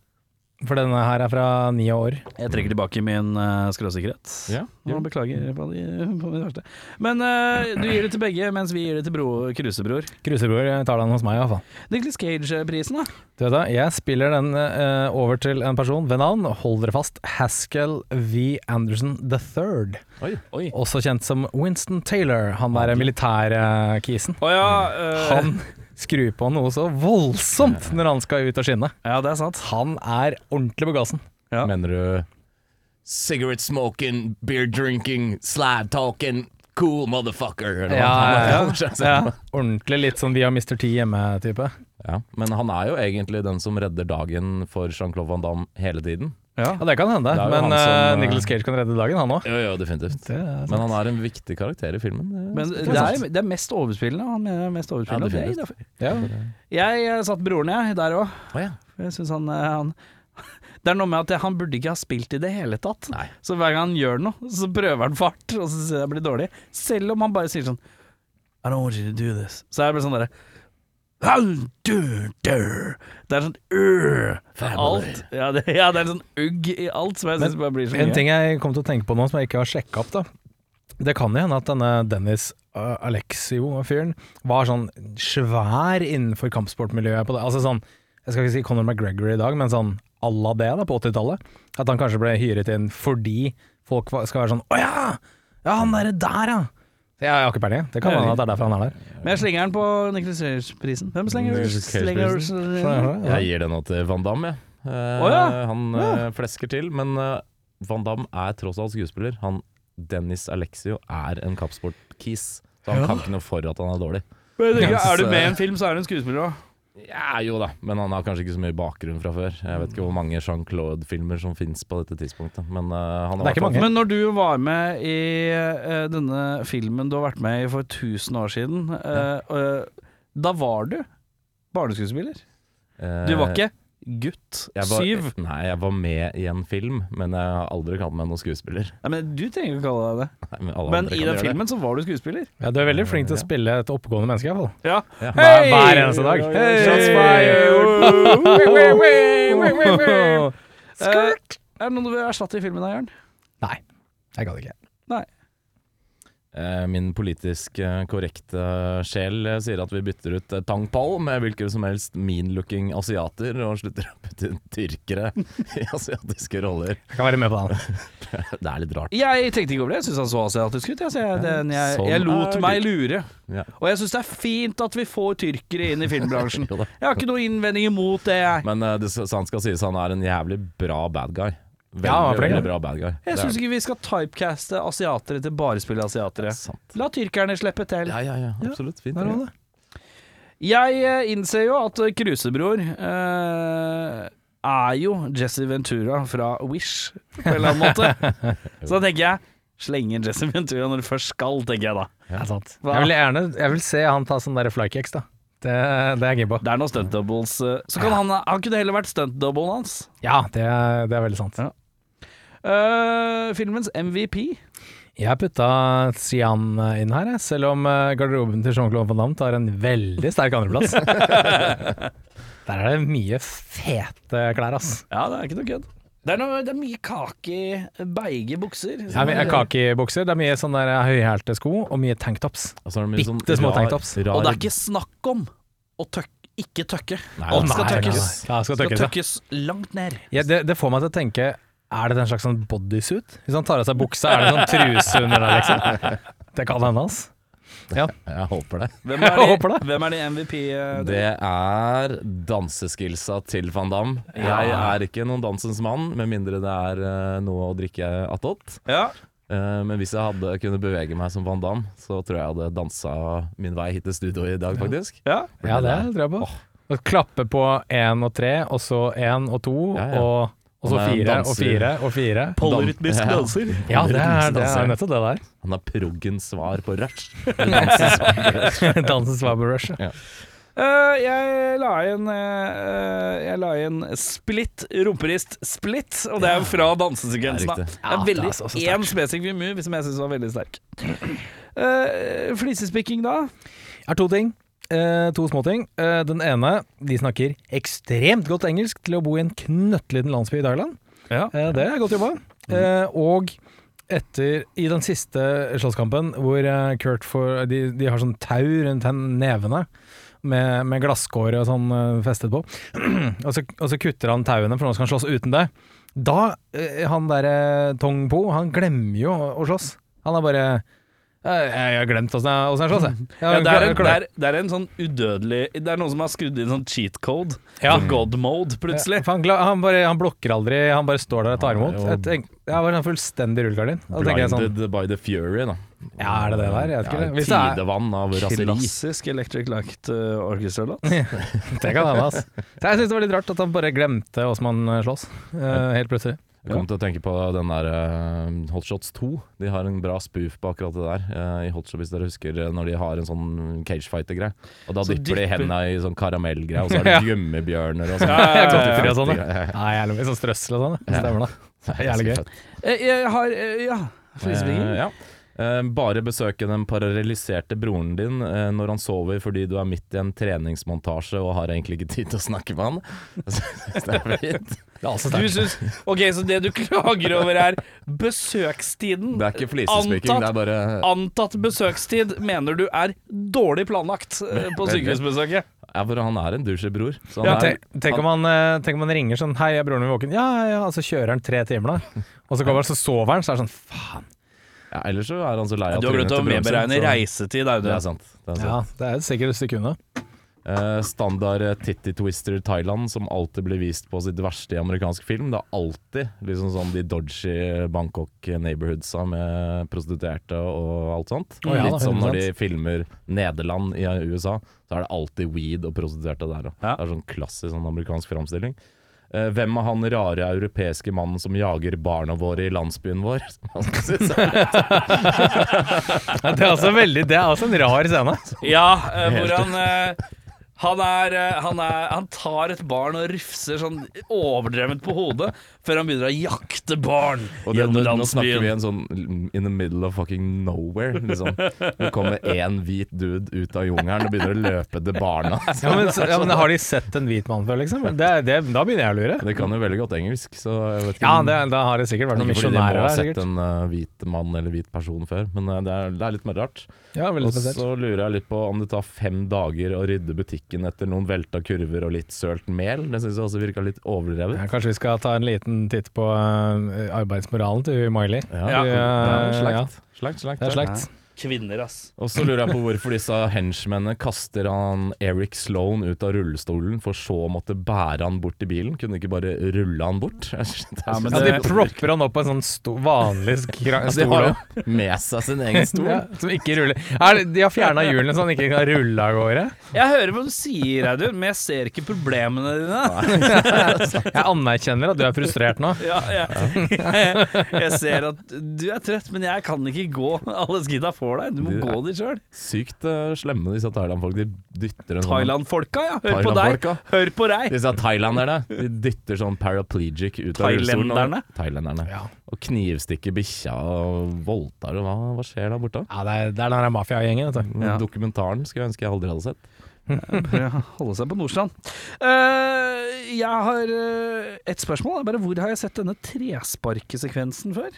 S4: For denne her er fra ni år.
S1: Jeg trekker tilbake min uh, skråsikkerhet.
S3: Ja,
S1: Og Beklager på de, på det verste. Men eh, du gir det til begge, mens vi gir det til bro, Krusebror.
S4: Krusebror eh, tar den hos meg, iallfall.
S1: Nicholas Cage-prisen, da?
S4: Du vet det, jeg spiller den eh, over til en person ved navn, hold dere fast, Haskell V. Anderson III.
S3: Oi.
S1: Oi.
S4: Også kjent som Winston Taylor, han derre militærkisen.
S1: Å ja, eh,
S4: Han skrur på noe så voldsomt når han skal ut og skinne.
S1: ja, det er sant.
S4: Han er ordentlig på gassen.
S1: Ja.
S3: Mener du Cigarette smoking, beer drinking, slab talking, cool motherfucker. eller hva
S4: Ja,
S3: han kaller seg.
S4: Ja, ordentlig litt sånn vi har Mr. T hjemme-type.
S3: Ja, Men han er jo egentlig den som redder dagen for Jean-Claude Van Damme hele tiden.
S1: Ja.
S4: Ja, det kan hende,
S3: Det er jo
S4: men
S3: han som,
S4: eh,
S3: eh,
S4: Nicolas Cage kan redde dagen, han òg.
S3: Jo, jo, definitivt.
S4: Det er sant.
S3: Men han er en viktig karakter i filmen. det-
S1: Men
S3: det
S1: det
S3: er
S1: er,
S3: sant.
S1: det er mest overspillende. Han mener det er mest
S3: Ja,
S1: overspillende.
S3: definitivt.
S1: Ok,
S4: Ja.
S1: da- jeg eh, satt broren jeg der òg.
S3: Å ja.
S1: Jeg synes han, eh, han Det er noe med at han burde ikke ha spilt i det hele tatt.
S3: Nei.
S1: Så hver gang han gjør noe, så prøver han fart, og så synes jeg det blir dårlig. Selv om han bare sier sånn I don't want you to do this. Så jeg blir sånn derre Det er sånn øh, Alt. Ja det, ja, det er en sånn ugg i alt som jeg
S4: Men
S1: syns bare blir så
S4: En
S1: mye.
S4: ting jeg kom til å tenke på nå som jeg ikke har sjekka opp, da. Det kan jo hende at denne Dennis øh, Alexio-fyren var sånn svær innenfor kampsportmiljøet. På det. Altså sånn, jeg skal ikke si Conor McGregor i dag, men sånn à la det da, på 80-tallet. At han kanskje ble hyret inn fordi folk var- skal være sånn Å ja! Ja, han derre der, ja! Jeg har ikke peiling. Det kan hende at det er derfor han er der.
S1: Men jeg slenger den på Nicholas Cage-prisen. Hvem slenger
S3: Nicolas
S1: slenger-
S3: Cage-prisen?
S1: slenger-
S3: Jeg gir det nå til Van Damme, jeg. Eh,
S1: Å ja.
S3: Han eh, flesker til, men eh, Van Damme er tross alt skuespiller. Han Dennis Alexio er en kappsport-kis, så han kan ikke noe for at han er dårlig.
S1: Men jeg tenker,
S3: Yes.
S1: Er du med i en film, så er du en skuespiller òg.
S3: Ja, jo da, men han har kanskje ikke så mye bakgrunn fra før. Jeg vet ikke hvor mange Jean-Claude-filmer som fins på dette tidspunktet, men eh, han har
S4: Det er ikke
S3: vært-
S4: mange.
S1: Men når du var med i eh, denne filmen du har vært med i for 1000 år siden, eh, eh, da var du barneskuespiller.
S3: Eh,
S1: Du var ikke gutt
S3: jeg var,
S1: syv.
S3: Nei, jeg var med i en film, men jeg har aldri kalt meg noen skuespiller.
S1: Nei, men Du trenger ikke å kalle deg det.
S3: Nei, men alle
S1: Men
S3: andre
S1: i
S3: kan
S1: den
S3: gjøre det.
S1: filmen så var du skuespiller.
S4: Ja, du er veldig flink til å spille et oppegående menneske, iallfall.
S1: Ja.
S3: Ja.
S4: Hver, hver eneste dag.
S1: Hey!
S4: Shots fired!
S1: Skurt! Eh, er det noen du vil erstatte i filmen, da, Jørn?
S4: Nei, jeg gadd ikke.
S1: Nei.
S3: Eh, Min politisk eh, korrekte sjel eh, sier at vi bytter ut eh, Tang Pal med hvilke som helst mean-looking asiater, og slutter å putte inn tyrkere i asiatiske roller.
S4: Jeg kan være med på den.
S3: Det er litt rart.
S1: Jeg tenkte ikke over det. Jeg syns han så asiatisk ut. Jeg, så jeg, den, jeg,
S3: sånn
S1: jeg lot
S3: er det.
S1: meg lure.
S3: Ja.
S1: Og jeg syns det er fint at vi får tyrkere inn i filmbransjen.
S3: Jo da.
S1: Jeg har ikke noe innvending imot det, jeg.
S3: Men eh, det, så han skal sies han er en jævlig bra bad guy. Veldig,
S4: Ja, han er flink,
S3: veldig
S4: ja.
S3: bra bad guy. Det
S1: Jeg
S3: er
S1: syns ikke vi skal typecaste asiatere til bare å spille asiatere.
S3: sant.
S1: La tyrkerne slippe til.
S3: Ja, ja, ja. Absolutt. Fint.
S4: Der var
S3: Ja.
S4: det.
S1: Jeg eh, innser jo at eh, Krusebror eh, er jo Jesse Ventura fra Wish, på en eller annen måte. Så da tenker jeg slenge inn Jesse Ventura når du først skal, tenker jeg da.
S4: Det er sant.
S1: Hva?
S4: Jeg vil gjerne jeg vil se han ta sånn der flykicks, da. Det, det er jeg keen på.
S1: Det er noen stunt doubles. eh, Så kan han, han kunne heller vært stunt doublen hans.
S4: Ja, det er, det er veldig sant.
S1: Ja. Eh, filmens MVP.
S4: Jeg putta Sian inn her, jeg, selv om eh, garderoben til Jean-Claude Van Damme tar en veldig sterk andreplass. Der er det mye fete klær, ass.
S1: Ja, det er ikke noe kødd. Det er, noe, det er mye kake i beige bukser.
S4: Det er mye kakebukser, eh, det er mye sånne der høyhælte sko og mye tanktops.
S3: Og så er det mye sånn
S4: Bitte små
S3: rar-
S4: tanktops.
S3: rar-
S1: Og det er ikke snakk om å tøk, ikke tøkke.
S3: Nei,
S1: Å,
S3: det
S1: skal
S4: nei, nei,
S1: tøkkes.
S4: nei. Ja, det skal
S1: Skal
S4: tøkkes. ja.
S1: tøkkes langt ned.
S4: Ja, det, det får meg til å tenke Er det en slags sånn bodysuit? Hvis han tar av seg buksa, er det sånn truse under der, liksom? Det kan hende, ass. Ja.
S3: Jeg håper det.
S1: Hvem er
S4: Jeg
S1: de,
S4: håper det.
S1: Hvem er de MVP? eh,
S3: Det er danseskillsa til Van Damme. Jeg er ikke noen dansens mann, med mindre det er eh, noe å drikke attåt.
S1: Ja.
S3: Eh, men hvis jeg hadde kunne bevege meg som Van Damme, så tror jeg jeg hadde dansa min vei hit til studio i dag, faktisk.
S1: ja.
S4: ja, det tror jeg på. Å klappe på én og tre, og så én og to,
S3: Ja, ja.
S4: Og, og så
S3: Han er en
S4: fire og
S3: danser.
S4: fire og fire.
S3: Polyrytmisk
S1: Dan-
S3: danser.
S1: Ja.
S4: Ja, det er, det er nettopp det der.
S3: Han er proggens svar på rush. Dansens svar på rush.
S4: Dansens Swabber Rush. ja.
S1: Eh, jeg la inn eh, Jeg la inn Split, rumperist Split, og det er fra dansesekvensen. da. Det
S3: Det er riktig.
S1: er
S4: Ja,
S1: veldig
S4: det er altså så sterkt.
S1: én spesifikk move som jeg syns var veldig sterk. Eh, flisespikking da?
S4: er to ting. Eh, to småting. Eh, den ene, de snakker ekstremt godt engelsk til å bo i en knøttliten landsby i Thailand.
S1: Ja.
S4: Eh, det er godt jobba. Eh, og etter, i den siste slåsskampen, hvor eh, Kurt får de, de har sånn tau rundt hen- nevene. Med, med glasskåre og sånn eh, festet på. og, så, og så kutter han tauene, for nå skal han slåss uten det. Da, eh, han derre Tong Po, han glemmer jo å, å slåss. Han er bare «Eh, Jeg har glemt åssen jeg, åssen jeg slåss, jeg. jeg.
S1: Ja, det, er en,
S4: jeg klarer-
S1: det, er, det er en sånn udødelig Det er noen som har skrudd inn sånn cheat code.
S4: Ja.
S1: For God mode, plutselig.
S4: Ja, for han, gla- han, bare, han blokker aldri, han bare står der og tar
S3: Han er
S4: imot.
S3: jo
S4: Jeg tenk- Det er bare en fullstendig rullegardin. Og da tenker jeg sånn,
S3: Blinded by the fury, da.
S4: Ja, er det det der? Jeg vet ikke det. Hvis det er-
S3: tidevann av raseri.
S1: Klassisk Electric Light uh, Orchestra-låt.
S4: det kan hende, ass. Så Jeg syns det var litt rart at han bare glemte åssen man eh, slåss, eh, helt plutselig.
S3: Jeg kom til å tenke på den der eh, Hotshots 2. De har en bra spoof på akkurat det der. eh, I Hotshots, hvis dere husker, eh, når de har en sånn cagefighter-greie. Og da
S1: Så
S3: dypper de
S1: dypper-
S3: hendene i sånn karamellgreie, og så er det gummibjørner og sånn.
S4: Godteri og sånn,
S3: Ja, ja, ja.
S4: Nei, jævlig mye sånn strøssel og sånn. det. Stemmer det.
S3: Det er
S4: Jævlig
S3: ganske
S4: gøy.
S3: fett.
S1: Eh, Jeg har eh, Ja,
S3: Eh,
S1: flisespikking.
S3: ja. Eh, Bare besøke den paralyserte broren din eh, når han sover fordi du er midt i en treningsmontasje og har egentlig ikke tid til å snakke med han. Jeg synes Det er altså fint.
S1: Du syns Ok, så det du klager over, er besøkstiden.
S3: Det er ikke flisespiking, det er bare
S1: Antatt besøkstid mener du er dårlig planlagt eh, på sykehusbesøket.
S3: ja, for Han er en douchebror. så han
S4: Ja,
S3: er-
S4: tenk, tenk, om han, eh, tenk om han ringer sånn Hei, er broren min våken? Ja, ja, ja. Og så kjører han tre timer, da. Og så kommer han, så sover han, så er det sånn Faen.
S3: ja, ellers så er han så lei av
S1: Du har glemt å
S3: broren sin,
S1: medberegne
S3: så-
S1: reisetid,
S3: Det er
S1: Audun.
S3: sant. Det er sant.
S4: Ja, altså.» det er sikkert et sekund, da.
S3: Eh, standard eh, titty twister Thailand som alltid blir vist på sitt verste i amerikansk film. Det er alltid liksom sånn de dodgy Bangkok neighborhoodsa med prostituerte og alt sånt.
S4: Å ja,
S3: Litt
S4: da,
S3: som når de
S4: 100%.
S3: filmer Nederland i USA, så er det alltid weed og prostituerte der òg.
S1: Ja.
S3: Det er sånn klassisk sånn amerikansk framstilling. Eh, hvem er han rare europeiske mannen som jager barna våre i landsbyen vår?
S4: Ja, det er altså veldig Det er altså en rar scene.
S1: Ja, eh, hvor han eh, han, er, eh, han, er, han tar et barn og rufser sånn overdrevent på hodet, før han begynner å jakte barn
S3: Og det, nå,
S1: gjennom
S3: nå snakker vi
S1: landsbyen.
S3: en sånn in the middle of fucking nowhere, liksom. Det kommer én hvit dude ut av jungelen og begynner å løpe til barna.
S4: Ja, men, så- ja, men Har de sett en hvit mann før, liksom? Det, er- det, da begynner jeg å lure. Mm.
S3: Det kan jo veldig godt engelsk, så jeg vet ikke
S4: Ja,
S3: om-
S4: det, da har det sikkert vært noen
S3: ikke fordi de må
S4: misjonærer
S3: ha
S4: der.
S3: sett
S4: sikkert.
S3: en eh, hvit mann eller hvit person før, men eh, det, er, det er litt mer rart.
S4: Ja, veldig
S3: Og
S4: spesielt.
S3: så lurer jeg litt på om det tar fem dager å rydde butikken etter noen velta kurver og litt sølt mel. Det syns jeg også virka litt overdrevet.
S4: Ja, kanskje vi skal ta en liten titt på eh, arbeidsmoralen til Miley.
S1: Ja.
S3: det er slakt.
S4: Ja.
S3: Slakt, slakt,
S4: Det er slekt.
S1: Kvinner, ass.
S3: Og så lurer jeg på hvorfor disse henchmennene kaster han Eric Sloan ut av rullestolen, for så å måtte bære han bort i bilen. Kunne de ikke bare rulle han bort? Ja,
S1: men
S4: Ja,
S1: det-
S4: de propper han opp på en sånn sto, vanlig skra-
S3: altså, de
S4: stol.
S3: har
S4: også.
S3: jo med seg sin egen stol.
S4: Ja, som ikke ruller. Er, det- de har fjerna hjulene så han ikke kan rulle av gårde.
S1: Jeg hører hva du sier, Audun, men jeg ser ikke problemene dine.
S4: Jeg anerkjenner at du er frustrert nå.
S1: Ja, jeg, jeg, jeg ser at du er trøtt, men jeg kan ikke gå alle skidda for deg. Du må
S3: Du er-
S1: gå de sjøl.
S3: Sykt eh, slemme, disse Thailand-folk. De dytter en
S1: Thailand-folka, ja. Hør på deg.
S3: Thailand-folka.
S1: Hør på
S3: sånn
S1: deg.
S3: Disse thailanderne de dytter sånn paraplegic ut av rullestolen.
S1: Thailenderne?
S3: Og, Thailenderne.
S4: Ja.
S3: og knivstikker bikkja og voldtar og hva, hva skjer der borte?
S4: Ja, det er, det er den her mafiagjengen, vet du.
S1: Ja.
S3: Dokumentaren skulle jeg ønske jeg aldri hadde sett.
S1: Ja, holde seg på Nordstrand. Eh, jeg har eh, et spørsmål. Det er Bare hvor har jeg sett denne tresparkesekvensen før?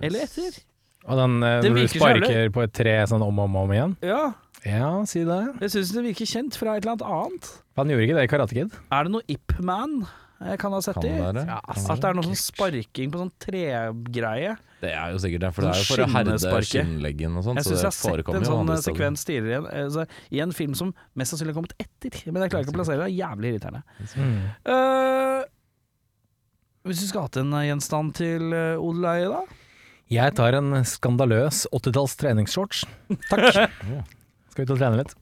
S1: Eller etter?
S4: Og den eh,
S1: Det
S4: hvor du
S1: virker så jævlig.
S4: sparker på et tre sånn om og om, og om igjen.
S1: Ja,
S4: Ja, si det.
S1: jeg syns det virker kjent fra et eller annet annet.
S4: Han gjorde ikke det i Karate Kid.
S1: Er det noe Ip Man jeg kan ha sett
S3: Kan
S1: i?
S3: det være?
S4: Ja,
S3: Kan
S1: At det er noe sånn sparking på sånn tregreie.
S3: Det er jo sikkert det, for det er jo for å
S1: Sånn
S3: herde
S1: skinnesparke.
S3: skinnleggen og sånn.
S1: Jeg
S3: så
S1: syns jeg
S3: det
S1: har sett
S3: forekommer
S1: en
S3: jo
S1: sånn
S3: andre
S1: eh,
S3: steder.
S1: sekvens tidligere i en- eh, så i en film som mest sannsynlig har kommet etter. Men jeg klarer ikke å plassere det. Jævlig irriterende. Eh, hvis du skulle hatt en eh, gjenstand til eh, Odel Eie, da?
S4: Jeg tar en skandaløs 80-talls treningsshorts. Takk. Skal ut og trene litt.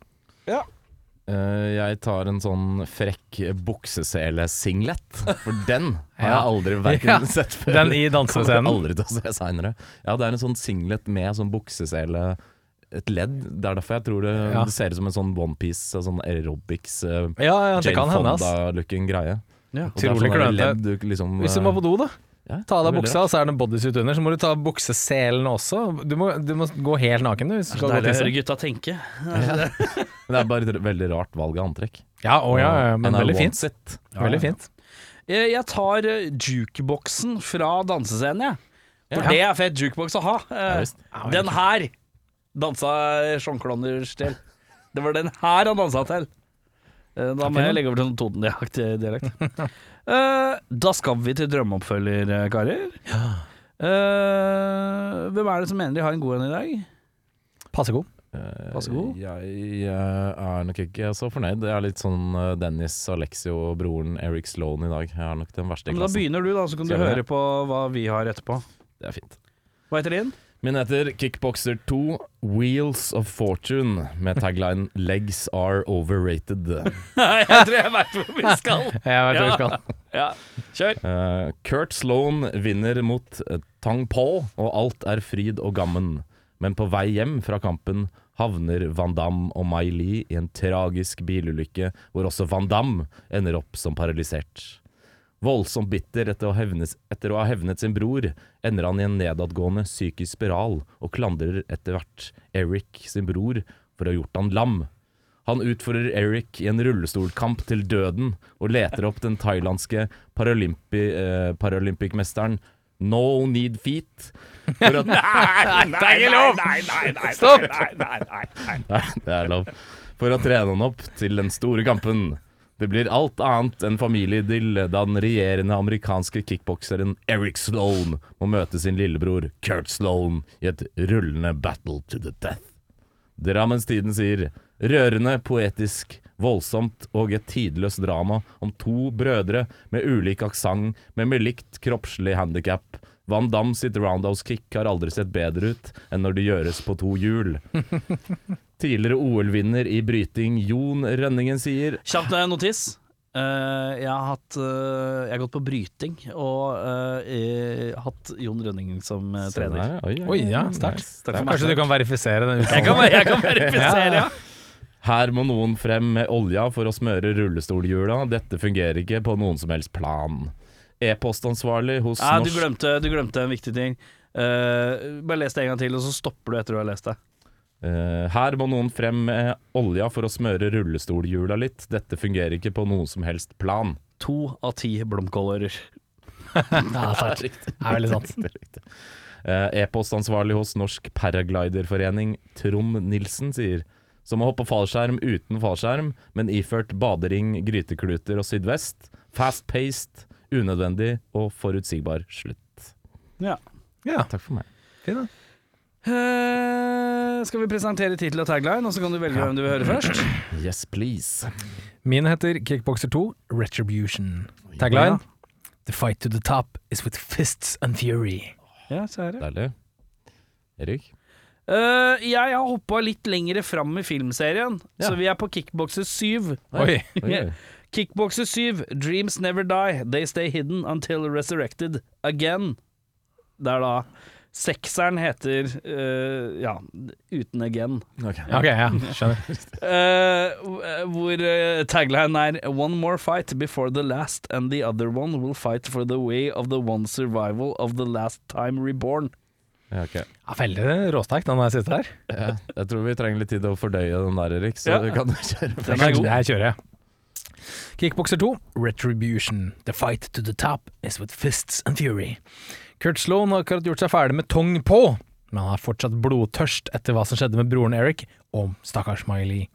S3: Eh, jeg tar en sånn frekk buksesele-singlet, for den har jeg
S4: Ja.
S3: aldri verken
S4: Ja,
S3: sett før.
S4: Den i
S3: Kommer jeg
S4: dansescenen.
S3: aldri til å se senere. Ja, det er en sånn singlet med sånn buksesele et ledd. Det er derfor jeg tror det,
S4: Ja.
S3: det ser ut som en sånn onepiece, sånn aerobics, eh,
S4: Ja, ja, det
S3: Jane
S4: kan hende, ass.
S3: Fonda-looking greie.
S1: Ja.
S3: Og det er
S4: Utrolig
S3: sånn der
S4: klønete.
S3: ledd du liksom, eh,
S4: Hvis du må på do, da.
S3: ja,
S4: Ta av deg
S3: veldig
S4: buksa, og så er det en bodysuit under. Så må du ta av bukseselene også. Du må, du må gå helt naken, du. Hvis du
S1: Så
S4: skal gå
S1: deilig å
S4: tisse.
S1: høre gutta tenke.
S3: rart. Men det er bare et veldig rart valg av antrekk.
S4: Ja, å ja, ja, men
S3: And I
S4: veldig
S3: want
S4: fint.
S3: it.
S4: Veldig fint.
S1: Eh, Jeg tar eh, jukeboksen fra dansescenen, jeg. For
S4: Ja.
S1: det er fett jukebox å ha. Eh,
S3: Ja, visst.
S1: den her dansa Sean Cloners til. Det var den her han dansa til. Eh, Da må jeg legge over til sånn Toten-aktig dialekt. Eh, Da skal vi til drømmeoppfølger, eh, karer. Eh, hvem er det som mener de har en god en i dag?
S4: Passe god.
S3: Eh,
S1: Vær så god.
S3: Jeg, eh, er nok ikke så fornøyd. Jeg er litt sånn eh, Dennis, Alexio og broren Eric Sloan i dag. Jeg er nok den verste i
S1: Men da
S3: klassen.
S1: begynner du, da, så kan du
S3: Skal jeg
S1: høre på hva vi har etterpå.
S3: Det er fint.
S1: Hva heter din?
S3: Min heter Kickboxer 2 Wheels of Fortune med tagline 'Legs are overrated'.
S1: jeg tror jeg veit hvor vi skal.
S4: Jeg vet hva
S1: Ja.
S4: vi skal.
S1: Ja, kjør.
S3: Eh, Kurt Sloan vinner mot eh, Tang Po, og alt er fryd og gammen. Men på vei hjem fra kampen havner Van Damme og Mai Li i en tragisk bilulykke, hvor også Van Damme ender opp som paralysert. Voldsomt bitter etter å, hevnes, etter å ha hevnet sin bror, ender han i en nedadgående psykisk spiral og klandrer etter hvert Eric sin bror for å ha gjort han lam. Han utfordrer Eric i en rullestolkamp til døden og leter opp den thailandske paralympi, eh, paralympicmesteren No Need Feet. For at,
S1: Det er ikke lov! Nei, nei, nei, Stopp! Nei, nei, nei, nei.
S3: Nei, det er lov. For å trene han opp til den store kampen. Det blir alt annet enn familieidyll da den regjerende amerikanske kickbokseren Eric Sloan må møte sin lillebror Kurt Sloan i et rullende battle to the death. Drammenstiden sier rørende, poetisk, voldsomt og et tidløst drama om to brødre med ulik aksent, men med likt kroppslig handikap. Van Damme sitt roundhouse-kick har aldri sett bedre ut enn når det gjøres på to hjul. Tidligere OL-vinner i bryting Jon Rønningen sier
S1: Kjapt eh, notis. Eh, jeg, har hatt, eh, jeg har gått på bryting og eh, eh, hatt Jon Rønning som eh, trener.
S3: Oi, oi,
S4: Oi, ja, sterkt.
S3: Nice.
S4: Kanskje du kan verifisere den
S1: Jeg kan, jeg kan verifisere, ja.
S3: Her må noen frem med olja for å smøre rullestolhjula. Dette fungerer ikke på noen som helst plan. E-postansvarlig hos
S1: Nei, du,
S3: Norsk
S1: glemte, du glemte en viktig ting. Eh, bare les det en gang til, og så stopper du etter du har lest det.
S3: Eh, Her må noen frem med olja for å smøre rullestolhjula litt. Dette fungerer ikke på noen som helst plan.
S1: To av ti blomkålører.
S4: Det er veldig sant.
S3: Det er riktig. Eh, E-postansvarlig hos Norsk Paragliderforening, Trond Nilsen, sier som å hoppe fallskjerm uten fallskjerm, men iført badering, grytekluter og sydvest. Fast-paced, unødvendig og forutsigbar slutt.
S1: Ja.
S4: Ja,
S3: Takk for meg.
S4: fin da.
S1: Eh, skal vi presentere tittel og tagline, og så kan du velge hvem du vil høre først?
S3: Yes, please.
S4: Min heter Kickboxer 2 Retribution. Tagline The fight to the top is with fists and fury.
S1: Ja, så er det.
S3: Deilig. Erik?
S1: Eh, jeg har hoppa litt lengre fram i filmserien,
S3: Ja.
S1: så vi er på Kickbokser 7.
S4: Oi.
S3: oi.
S1: Kickbokser 7, Dreams Never Die, They Stay Hidden Until Resurrected Again. Det er da Sekseren heter eh, ja, uten again.
S4: Ok, ja, skjønner.
S1: Eh, hvor eh, tagline er One more fight before the last And the other one will fight for the way Of the one survival of the last time reborn
S3: Ja, ok.
S4: Ja, veldig råsterk den der siste der.
S3: Ja, jeg tror vi trenger litt tid å fordøye den der, Erik, så
S1: Ja.
S3: du kan kjøre
S1: Den er god
S4: Det her kjører jeg. Kickbokser 2, Retribution. The fight to the top is with fists and fury. Kurt Sloan har akkurat gjort seg ferdig med tong på, men han er fortsatt blodtørst etter hva som skjedde med broren Eric og stakkars Miley.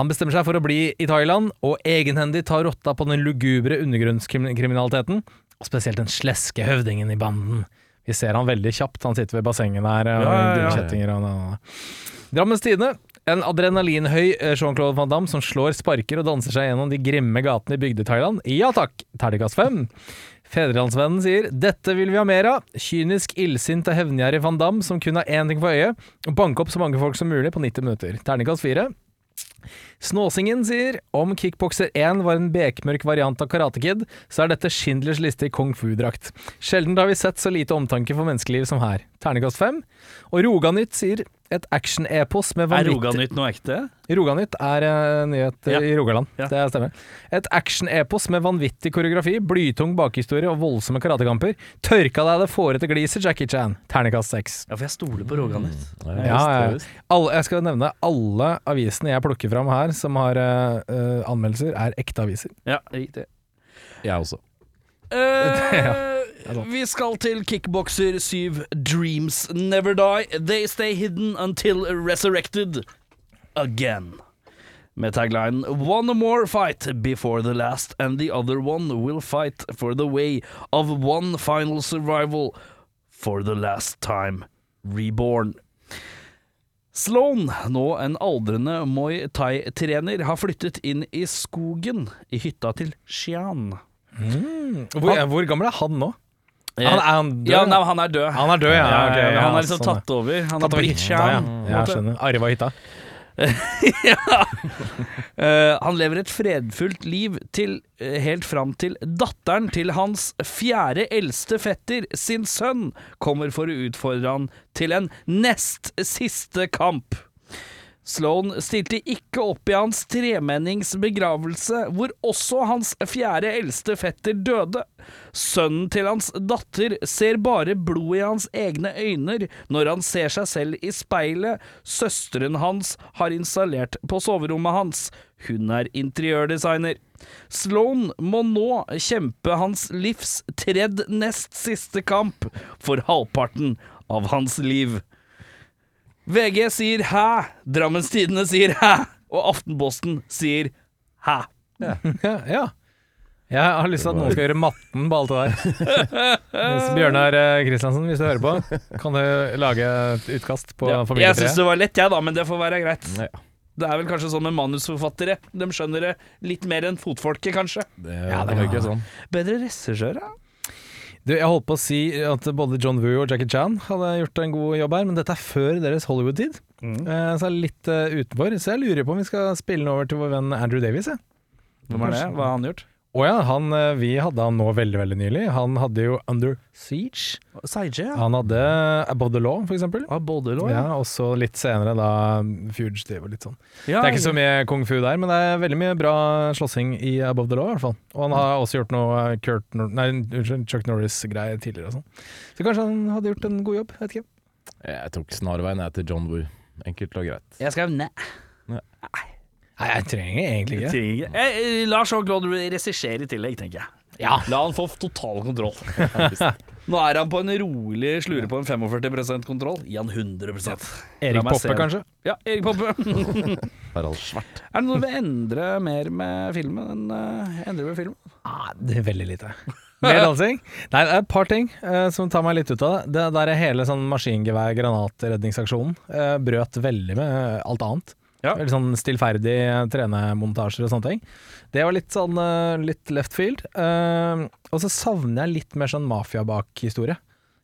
S4: Han bestemmer seg for å bli i Thailand, og egenhendig tar rotta på den lugubre undergrunnskriminaliteten, og spesielt den sleske høvdingen i banden. Vi ser han veldig kjapt, han sitter ved bassenget der, eh, og
S1: Ja, ja, ja.
S4: gullkjettinger og Drammens Tidende. En adrenalinhøy eh, Jean-Claude van Damme som slår, sparker og danser seg gjennom de grimme gatene i Bygde-Thailand. Ja takk! Terningkast fem. Fedrelandsvennen sier 'Dette vil vi ha mer av'. Kynisk, illsint og hevngjerrig van Damme som kun har én ting for øye, å banke opp så mange folk som mulig på 90 minutter. Terningkast fire. Snåsingen sier om Kickbokser 1 var en bekmørk variant av Karate Kid, så er dette Schindlers liste i kung fu-drakt. Sjelden har vi sett så lite omtanke for menneskeliv som her. Ternekast 5. Og Roganytt sier et action-epos med
S1: Er
S4: vanvittig
S1: Roganytt noe ekte?
S4: Roganytt er eh, nyhet eh,
S1: Ja.
S4: i Rogaland,
S1: Ja.
S4: det stemmer. Et action-epos med vanvittig koreografi, blytung bakhistorie og voldsomme karatekamper. Tørka deg det fårete gliset, Jackie Chan. Ternekast 6.
S1: Ja, for jeg stoler på Roganytt
S3: Ja,
S4: Ja,
S3: visst,
S4: Mm. ja.
S3: visst.
S4: Alle, jeg skal nevne alle avisene jeg plukker fram her som har eh, eh, anmeldelser, er ekte aviser.
S1: Ja, riktig
S3: Jeg også.
S1: Eh, Vi skal til Kickbokser 7 Dreams Never Die They Stay Hidden Until Resurrected Again Med tagline One more fight before the last And the other one will fight for the way Of one final survival For the last time Reborn Sloan, nå en aldrende Muay Thai-trener, har flyttet inn i skogen i hytta til Xian.
S4: Hvor, hvor gammel er han nå? Han er han død?
S1: Ja, nei, han er død.
S4: han er død, ja. ok, ja,
S1: han er liksom
S4: sånn,
S1: tatt over. Han
S4: ja.
S1: har
S4: Tatt over
S1: blitt
S4: hytta, ja.
S1: Chan.
S4: ja. Jeg skjønner. Arva hytta.
S1: Eh, han lever et fredfullt liv til, eh, helt fram til datteren til hans fjerde eldste fetter, sin sønn, kommer for å utfordre han til en nest siste kamp. Sloan stilte ikke opp i hans tremennings begravelse, hvor også hans fjerde eldste fetter døde. Sønnen til hans datter ser bare blod i hans egne øyne når han ser seg selv i speilet. Søsteren hans har installert på soverommet hans. Hun er interiørdesigner. Sloan må nå kjempe hans livs tredd nest siste kamp for halvparten av hans liv. VG sier hæ, Drammens Tidende sier hæ, og Aftenposten sier hæ.
S4: Ja, ja. Jeg har lyst til at noen skal gjøre matten på alt det der. Hvis Bjørnar eh, Kristiansen, hvis du hører på, kan du lage et utkast på
S1: Ja, jeg syns
S4: familietreet?
S1: det var lett, jeg, da, men det får være greit.
S3: Ja,
S1: Det er vel kanskje sånn med manusforfattere. De skjønner det litt mer enn fotfolket, kanskje.
S3: det, det var ikke sånn.
S1: Bedre regissør, ja.
S4: Du, jeg holdt på å si at både John Woo og Jackie Chan hadde gjort en god jobb her, men dette er før deres Hollywood-tid. Eh, Så jeg er litt eh, utenfor. Så jeg lurer på om vi skal spille den over til vår venn Andrew Davies. jeg.
S1: Hvem er det? Hva har han gjort?
S4: Å ja, han, eh, vi hadde han nå veldig, veldig nylig. Han hadde jo Under Siege.
S1: Seige, ja.
S4: Han hadde Above the Law, for eksempel.
S1: Ah, Både lå, ja.
S4: Ja, og så litt senere da Fugitive og litt sånn.
S1: ja.
S4: Det er ikke så mye kung fu der, men det er veldig mye bra slåssing i Above the Law, i hvert fall. Og han har også gjort noe eh, Kurt Nor nei, unnskyld, Chuck Norris-greier tidligere og sånn. Så kanskje han hadde gjort en god jobb, vet ikke.
S3: Jeg tok snarveien jeg til John Woo. Enkelt og greit.
S1: Jeg skrev nei.
S4: Nei, jeg trenger egentlig ikke.
S1: Ting. Eh, eh, Lars og Claude regisserer i tillegg, tenker jeg. La han få total kontroll. Nå er han på en rolig slure på en 45 kontroll. Gi han 100 La meg se
S4: Erik Poppe,
S1: den.
S4: kanskje.
S1: Ja, Erik Poppe. er
S3: Harald Svart.
S1: det noe du vil endre mer med filmen enn eh, endre med filmen?
S4: Nei, Ah, det er veldig lite. Mer dansing? Nei, det er et par ting eh, som tar meg litt ut av det. Det der er hele sånn maskingevær-granatredningsaksjonen eh, brøt veldig med eh, alt annet.
S1: Ja.
S4: Veldig sånn stillferdig eh, trenemontasjer og sånne ting. Det var litt sånn eh, litt left field. Eh, og så savner jeg litt mer sånn mafia-bak-historie.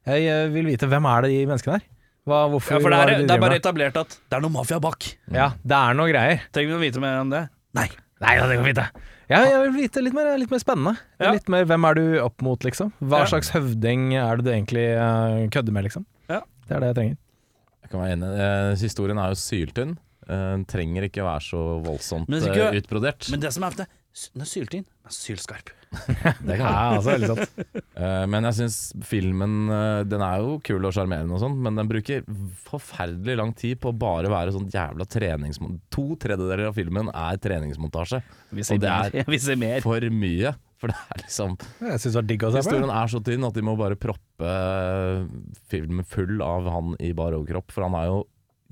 S4: Jeg eh, vil vite hvem er det de menneskene her? Hva, hvorfor,
S1: Ja, for det
S4: hva
S1: er,
S4: de
S1: det er
S4: driver
S1: bare
S4: med?
S1: etablert at det er noe mafia bak.
S4: Ja, det er noe greier.
S1: Trenger vi å vite mer om det? Nei.
S4: Nei, ja, det går fint, det. Ja, jeg vil vite litt mer, litt mer spennende.
S1: Ja.
S4: Litt mer hvem er du opp mot, liksom. Hva
S1: Ja.
S4: slags høvding er det du egentlig eh, kødder med, liksom.
S1: Ja.
S4: Det er det jeg trenger.
S3: Jeg kan være enig. Eh, historien er jo syltynn. Eh, den trenger ikke være så voldsomt
S1: Men hvis
S3: eh,
S1: ikke-
S3: utbrodert.
S1: Men det som er ofte Den er syltynn, men sylskarp.
S3: det kan
S4: Ja,
S3: være.
S4: altså, veldig sant.
S3: Eh, men jeg syns filmen eh, Den er jo kul og sjarmerende og sånn, men den bruker forferdelig lang tid på å bare være sånn jævla treningsmontasje. To tredjedeler av filmen er treningsmontasje.
S1: Vi
S3: Og
S1: ser
S3: det er-
S1: mer. Vi ser mer.
S3: For mye. For det er liksom
S4: Jeg syns det var digg å se på.
S3: Historien er så tynn at de må bare proppe eh, filmen full av han i bar overkropp, for han er jo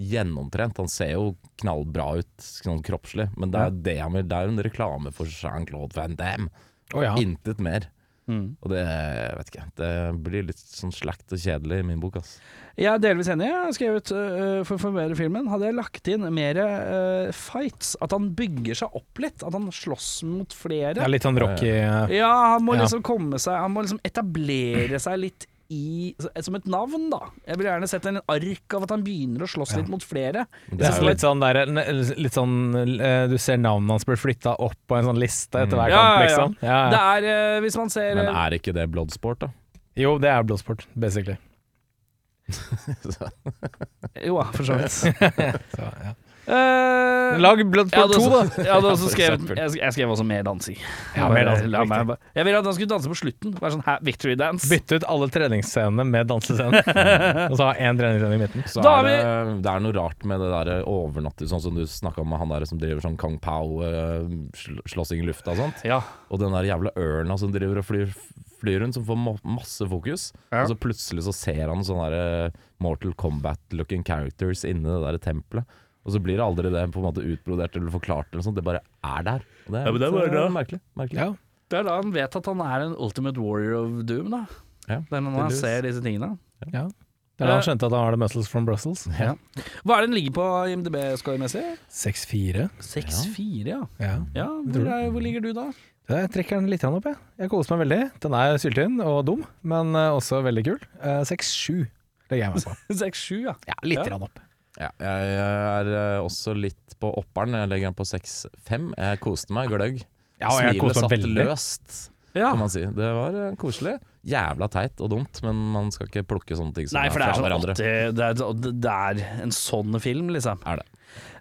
S3: gjennomtrent. Han ser jo knallbra ut sånn kroppslig, men det er jo det han vil. Det er jo en reklame for Jean-Claude Van Damme.
S4: Å, ja.
S3: Intet mer.
S1: Mm.
S3: Og det jeg vet ikke Det blir litt sånn slakt og kjedelig i min bok, ass.
S1: Jeg er delvis enig. Jeg har skrevet øh, for å forbedre filmen. Hadde jeg lagt inn mer øh, fights, at han bygger seg opp litt, at han slåss mot flere
S4: Det er litt sånn Rocky eh,
S1: Ja, han må
S4: Ja.
S1: liksom komme seg Han må liksom etablere seg litt i Som et navn, da. Jeg ville gjerne sett en ark av at han begynner å slåss litt mot flere.
S3: Det er
S4: Nesten
S3: jo
S4: litt sånn der ne- Litt sånn eh, Du ser navnet hans blir flytta opp på en sånn liste etter hver
S1: Ja,
S4: kamp,
S1: ja, ja.
S4: liksom. Ja,
S1: Det
S4: ja.
S1: er øh, Hvis man ser
S3: Men er ikke det bloodsport, da?
S4: Jo, det er blodsport, basically.
S3: Så-
S1: Jo, ja, for så vidt.
S4: Så, ja.
S1: Eh,
S4: Lag
S1: jeg
S4: blodsport
S1: hadde
S4: 2, da!
S1: også, jeg hadde også
S3: For
S1: skrevet
S3: eksempel.
S1: Jeg sk- jeg skrev også mer dansing.
S4: Ja, mer dansing,
S1: La meg
S4: riktig.
S1: bare- Jeg ville at han skulle danse på slutten. Være sånn hæ, victory dance.
S4: Bytte ut alle treningsscenene med dansescenen, og så ha én treningsscene i midten.
S3: Så
S1: Da
S3: er det,
S1: er
S3: det er noe rart med det der overnatting, sånn som du snakka om med han der som driver sånn Kang Pao-slåssing i lufta og sånt.
S1: Ja.
S3: Og den der jævla ørna som driver og flyr, flyr rundt, som får ma masse fokus. Og så plutselig så ser han sånne der eh, Mortal Kombat-looking characters inni det der tempelet. Og så blir det aldri det på en måte utbrodert eller forklart, eller noe sånt. det bare er der. Og det er,
S1: Ja, men det er
S3: litt,
S1: bare
S3: eh,
S1: bra.
S3: merkelig. merkelig.
S4: Ja.
S1: Det er da han vet at han er en ultimate warrior of doom, da.
S3: Ja,
S1: det er når han
S3: tydeligvis.
S1: ser disse tingene.
S4: Ja. Det er da han skjønte at han har the muscles from Brussels.
S1: Hva er det den ligger på IMDb-score-messig?
S4: 6-4.
S1: 6-4, ja.
S4: Ja.
S1: ja hvor, er, hvor ligger du da?
S4: Jeg trekker den litt grann opp, jeg. Jeg koser meg veldig. Den er syltynn og dum, men eh, også veldig kul. Eh, 6-7 legger jeg meg på.
S1: 6-7, ja.
S4: Ja, litt
S1: Ja.
S4: grann opp.
S3: Ja, jeg er eh, også litt på opperen. Jeg legger den på 6-5. Jeg koste meg gløgg.
S4: Ja, og jeg koser meg
S3: satt
S4: veldig.
S3: løst,
S1: ja.
S3: kan man si. Det var eh, koselig. Jævla teit og dumt, men man skal ikke plukke sånne ting som
S1: Nei, for det
S3: fra
S1: er sånn
S3: hverandre.
S1: 80 det er, det er en sånn film, liksom.
S3: Er det.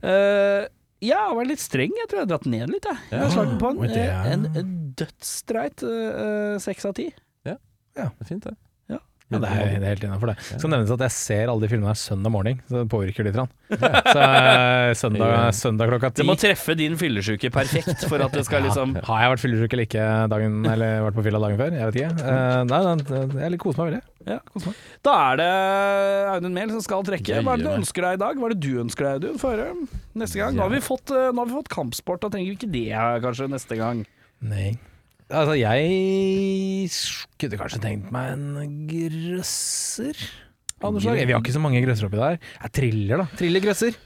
S1: Eh, jeg har vært litt streng, jeg tror jeg har dratt ned litt. Jeg, jeg har slagit på
S4: Oi,
S1: en,
S4: det er-
S1: eh, en, en dødsstreit eh, eh, seks av ti.
S3: Det er fint, det.
S1: Ja.
S4: Ja, det er, det er helt innafor, det. Skal nevnes at jeg ser alle de filmene her søndag morgen, så det påvirker litt. grann. Så eh, søndag,
S3: Ja.
S4: søndag klokka
S1: Det
S4: ti
S1: må treffe din fyllesyke perfekt for at det skal liksom
S4: har jeg vært fyllesyk eller ikke dagen, eller vært på fylla dagen før? Jeg vet ikke. Eh, nei, nei, jeg liker- koser meg veldig.
S1: ja. Da er det Audun Mehl som skal trekke. Hva er det du ønsker deg i dag? Hva er det du ønsker deg, Audun? Få høre neste gang. Nå har vi fått, eh, nå har vi fått kampsport, da trenger vi ikke det eh, kanskje neste gang.
S4: Nei. Altså, jeg skulle kanskje tenkt meg en grøsser. av noe slag. Vi har ikke så mange grøssere oppi der. Jeg triller, da. Trillergrøsser.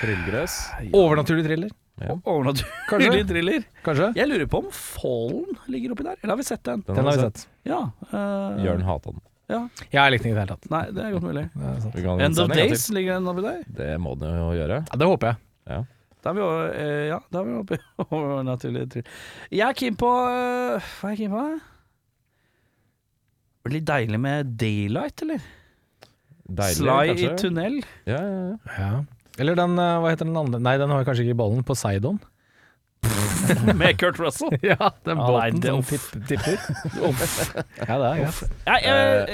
S3: Trillgress.
S4: Overnaturlig thriller.
S3: Ja.
S1: Overnaturlig thriller.
S4: Kanskje?
S1: Jeg lurer på om Fallen ligger oppi der, eller har vi sett den?
S4: Den har vi sett.
S1: Ja. eh,
S3: Jørn hata den.
S1: ja.
S4: Jeg likte den ikke i det hele tatt. sånn.
S1: Nei, det er godt mulig.
S4: Det, er sant.
S3: Vi kan
S1: End of
S3: sende en gang
S1: Days ligger den oppi der.
S3: til. Det må den jo gjøre.
S4: Ja, det håper jeg.
S1: Da er vi over, eh, ja, da er vi oppe i overnaturlig thriller. Jeg er keen på eh, Hva er jeg keen på? Det blir litt deilig med daylight, eller?
S3: Deilig,
S1: Sly i
S3: kanskje?
S1: tunnel.
S3: Ja, ja, ja.
S4: Ja. Eller den, eh, hva heter den andre? Nei, den har vi kanskje ikke i ballen, på Seidon.
S1: Med Kurt Russell.
S4: Ja, den
S1: Ah, nei,
S4: båten
S1: det-
S4: som
S1: uff.
S4: tipp- tipper. Ja, det er greit.
S1: Nei, eh, eh,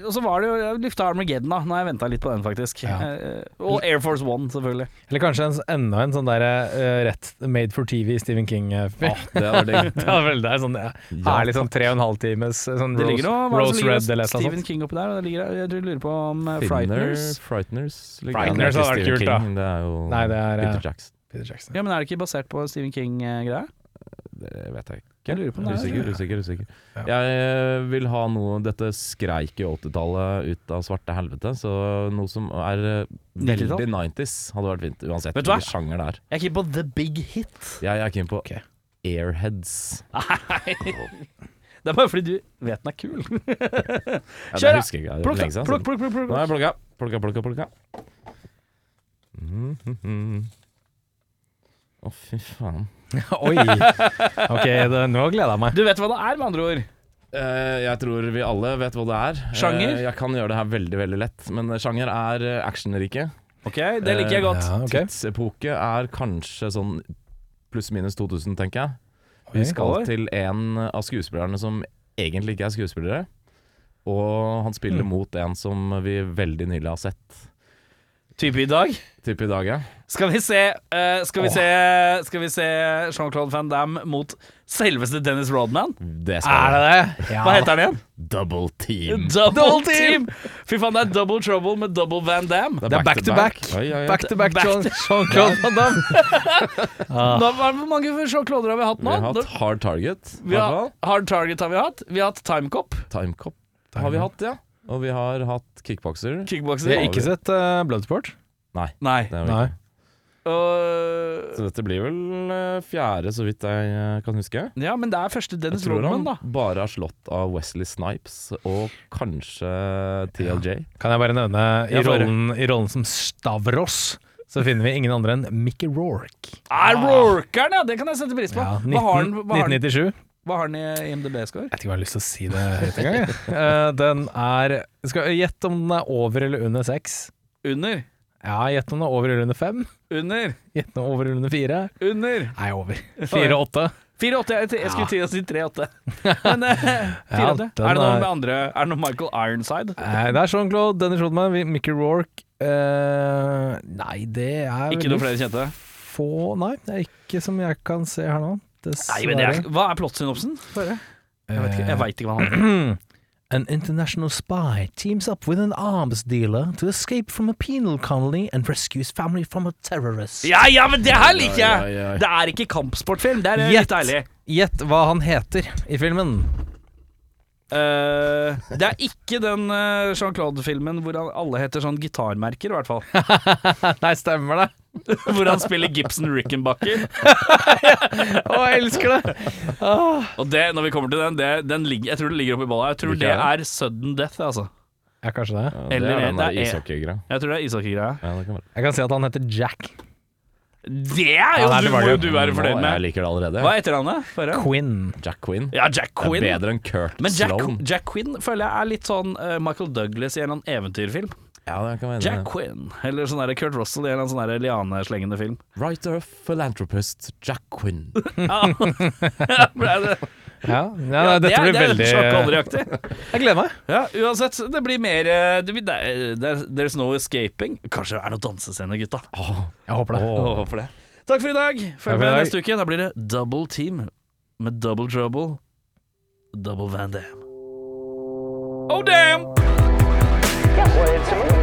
S1: og så var det jo Jeg lufta Armageddon, da. Nei, jeg venta litt på den, faktisk.
S4: Ja.
S1: Eh, og Air Force One, selvfølgelig.
S4: Eller kanskje en, enda en sånn der eh, rett made for TV Stephen King-film.
S3: Ah, det var digg.
S4: Ja, vel, det er sånn ja.
S3: Ja,
S4: herlig sånn tre og en halv times sånn
S1: Det
S4: Rose,
S1: ligger noe hva er det som
S4: Rose
S1: ligger
S4: Red eller et eller
S1: Stephen
S4: annet sånt.
S1: King oppi der. Og det ligger, jeg tror jeg lurer på om eh,
S3: Finner,
S1: Frighteners
S3: Frighteners. ligger-
S4: Frighteners
S3: Ja, det er ikke Stephen
S4: hadde vært kult, da.
S3: King, Det er jo
S4: Nei, det er, eh,
S3: Peter Jackson.
S4: Peter Jackson.
S1: Ja, men Er det ikke basert på Stephen King-greie?
S3: Det vet jeg ikke.
S1: Jeg lurer på om det er-
S3: Usikker, usikker, usikker. Jeg eh, vil ha noe Dette skreik i 80-tallet ut av svarte helvete, så noe som er eh,
S1: 90-tall?
S3: veldig 90s hadde vært fint. Uansett
S1: Vet du hva?
S3: hvilken sjanger det er.
S1: Jeg er keen på The Big Hit.
S3: Jeg, jeg er keen på
S4: Ok.
S3: Airheads.
S1: Det er bare fordi du vet den er kul.
S3: Ja,
S1: Kjør,
S3: det
S1: da.
S3: husker jeg ikke. Det er
S1: Plukk,
S3: lenge siden.
S1: plukk, plukk, plukk,
S3: Nå
S1: plukk.
S3: har jeg plukka, plukka, plukka. plukka. Mhm, mhm, mhm. Å, fy faen.
S4: Oi! Ok, det, nå gleder jeg meg.
S1: Du vet hva det er, med andre ord.
S3: Eh, jeg tror vi alle vet hva det er.
S1: Sjanger?
S3: Eh, jeg kan gjøre det her veldig veldig lett, men sjanger er eh, actionrike.
S1: Ok, Det liker jeg godt.
S4: Eh, Ja, ok.
S3: Tidsepoke er kanskje sånn pluss-minus 2000, tenker jeg. Vi
S4: Oi.
S3: skal
S1: Oi.
S3: til en av skuespillerne som egentlig ikke er skuespillere. Og han
S4: Mm.
S3: spiller mot en som vi veldig nylig har sett.
S1: Type i dag.
S3: Type i dag, ja.
S1: Skal vi se eh, Skal vi se, skal vi se Jean-Claude Van Damme mot selveste Dennis Rodman?
S3: Det
S4: Er
S3: skal
S4: det
S3: vi.
S4: det? Ja.
S1: Hva heter han igjen?
S3: Double team.
S1: Double, team. Fy faen, det er double trouble med double Van Damme.
S4: Det er back to back.
S3: Oi, oi, oi.
S4: Back to back Ah,
S1: Back
S4: Jean-
S1: to-
S4: Jean-Claude Van Damme.
S1: Nå, hva- hvor mange Jean-Clauder har vi hatt
S3: Vi
S1: nå?
S3: har hatt Hard Target, i
S1: vi
S3: hvert
S1: har,
S3: fall.
S1: hard Target har vi hatt. Vi har hatt Timecop,
S3: Timecop har vi hatt, ja. Og vi har hatt kickbokser.
S1: kickbokser.
S4: Vi har ikke sett eh, Bloodsport.
S3: Nei.
S1: Nei.
S3: Det er vi
S4: Nei.
S3: ikke.
S1: Og-
S3: Så dette blir vel eh, fjerde, så vidt jeg eh, kan huske.
S1: ja, men det er første
S3: Jeg
S1: Dennis
S3: tror
S1: Rodman,
S3: han
S1: da.
S3: bare har slått av Wesley Snipes og kanskje TLJ.
S4: Kan jeg bare nevne, i
S3: Ja, for-
S4: rollen, i rollen som Stavros, så finner vi ingen andre enn Mickey Rourke.
S1: Er Rorkeren, ja! Det kan jeg sette pris på.
S4: Ja, 19,
S1: hva, har han, hva, har han,
S4: 1997.
S1: hva har han i IMDb-score?
S4: Jeg vet ikke om jeg har lyst til å si det høyt engang. jeg. Eh, Den er Skal jeg gjette om den er over eller under seks?
S1: Under.
S4: Ja, gjett om den er over eller under fem.
S1: Under.
S4: Gjett om den er over eller under fire.
S1: Under.
S4: Nei, over. Fire-åtte.
S1: 4,80. Jeg, jeg skulle til å si 3,8. Men eh, 4,80.
S4: den
S1: er det noe
S4: er-
S1: med andre Er det noe Michael Ironside?
S4: Nei, Eh, det er Jean-Claude, Dennis Rodman, vi- Mickey Rourke eh, Nei, det er
S1: Ikke
S4: veldig
S1: noe flere kjente?
S4: Få Nei, det er ikke som jeg kan se her nå.
S1: Nei, men det er, hva er plottsynopsen? Jeg vet ikke, jeg vet ikke hva han er.
S4: An international spy teams up with an arms dealer to escape from a penal colony and rescue his family from a terrorist.
S1: Ja, ja, men det her liker jeg!
S3: Oi, oi, oi.
S1: Det er ikke kampsportfilm, det er eh,
S4: Gjett.
S1: litt deilig.
S4: Gjett hva han heter i filmen.
S1: Eh, det er ikke den eh, Jean-Claude-filmen hvor han, alle heter sånn gitarmerker, i hvert fall.
S4: Nei, stemmer det?
S1: Hvor han spiller Gibson Rickenbacker.
S4: Å, jeg elsker det!
S1: Og det, når vi kommer til den, det, den ligger, jeg tror det ligger oppi balla. Jeg tror
S3: Hvilken
S1: det
S3: er
S1: er sudden death, altså.
S4: Ja, kanskje det.
S3: Ja,
S1: Eller
S3: det er den
S1: det
S3: der
S1: er-
S3: ishockeygreia.
S1: Jeg tror det er ishockeygreia.
S3: Ja, det kan være.
S4: Jeg kan si at han heter Jack
S1: Det er jo
S4: Ja, nei,
S1: du,
S4: det var
S1: må
S4: det
S1: jo du være fornøyd
S3: Å, Jeg
S1: med.
S3: liker det allerede.
S1: Hva er etternavnet? Få høre.
S4: Quinn.
S3: Jack Quinn.
S1: Ja, Jack
S3: Det er
S1: Quinn.
S3: bedre enn Kurt
S1: Men Jack,
S3: Sloan.
S1: Jack Quinn føler jeg er litt sånn eh, Michael Douglas i en eller annen eventyrfilm.
S3: Ja, det kan være enig i
S1: Jack
S3: det.
S1: Quinn, eller sånn der Kurt Russell i en eller annen sånn der lianeslengende film.
S3: Writer, philanthropist Jack Quinn.
S1: Ja, Ja, ble det.
S4: Ja, ja, nei, dette blir
S1: det er
S4: veldig
S1: sjakkalderaktig.
S4: Jeg gleder meg.
S1: Ja, uansett, det blir mer eh, det, blir- det, det, There's no escaping. Kanskje det er noen dansescener, gutta.
S4: Jeg håper det.
S1: Åh, for det. Takk for i dag.
S4: for i
S1: Følg med
S4: dag.
S1: neste uke. Da blir det double team med double trouble, double Van Dam. Oh damn!
S2: Yeah, well, it's a movie.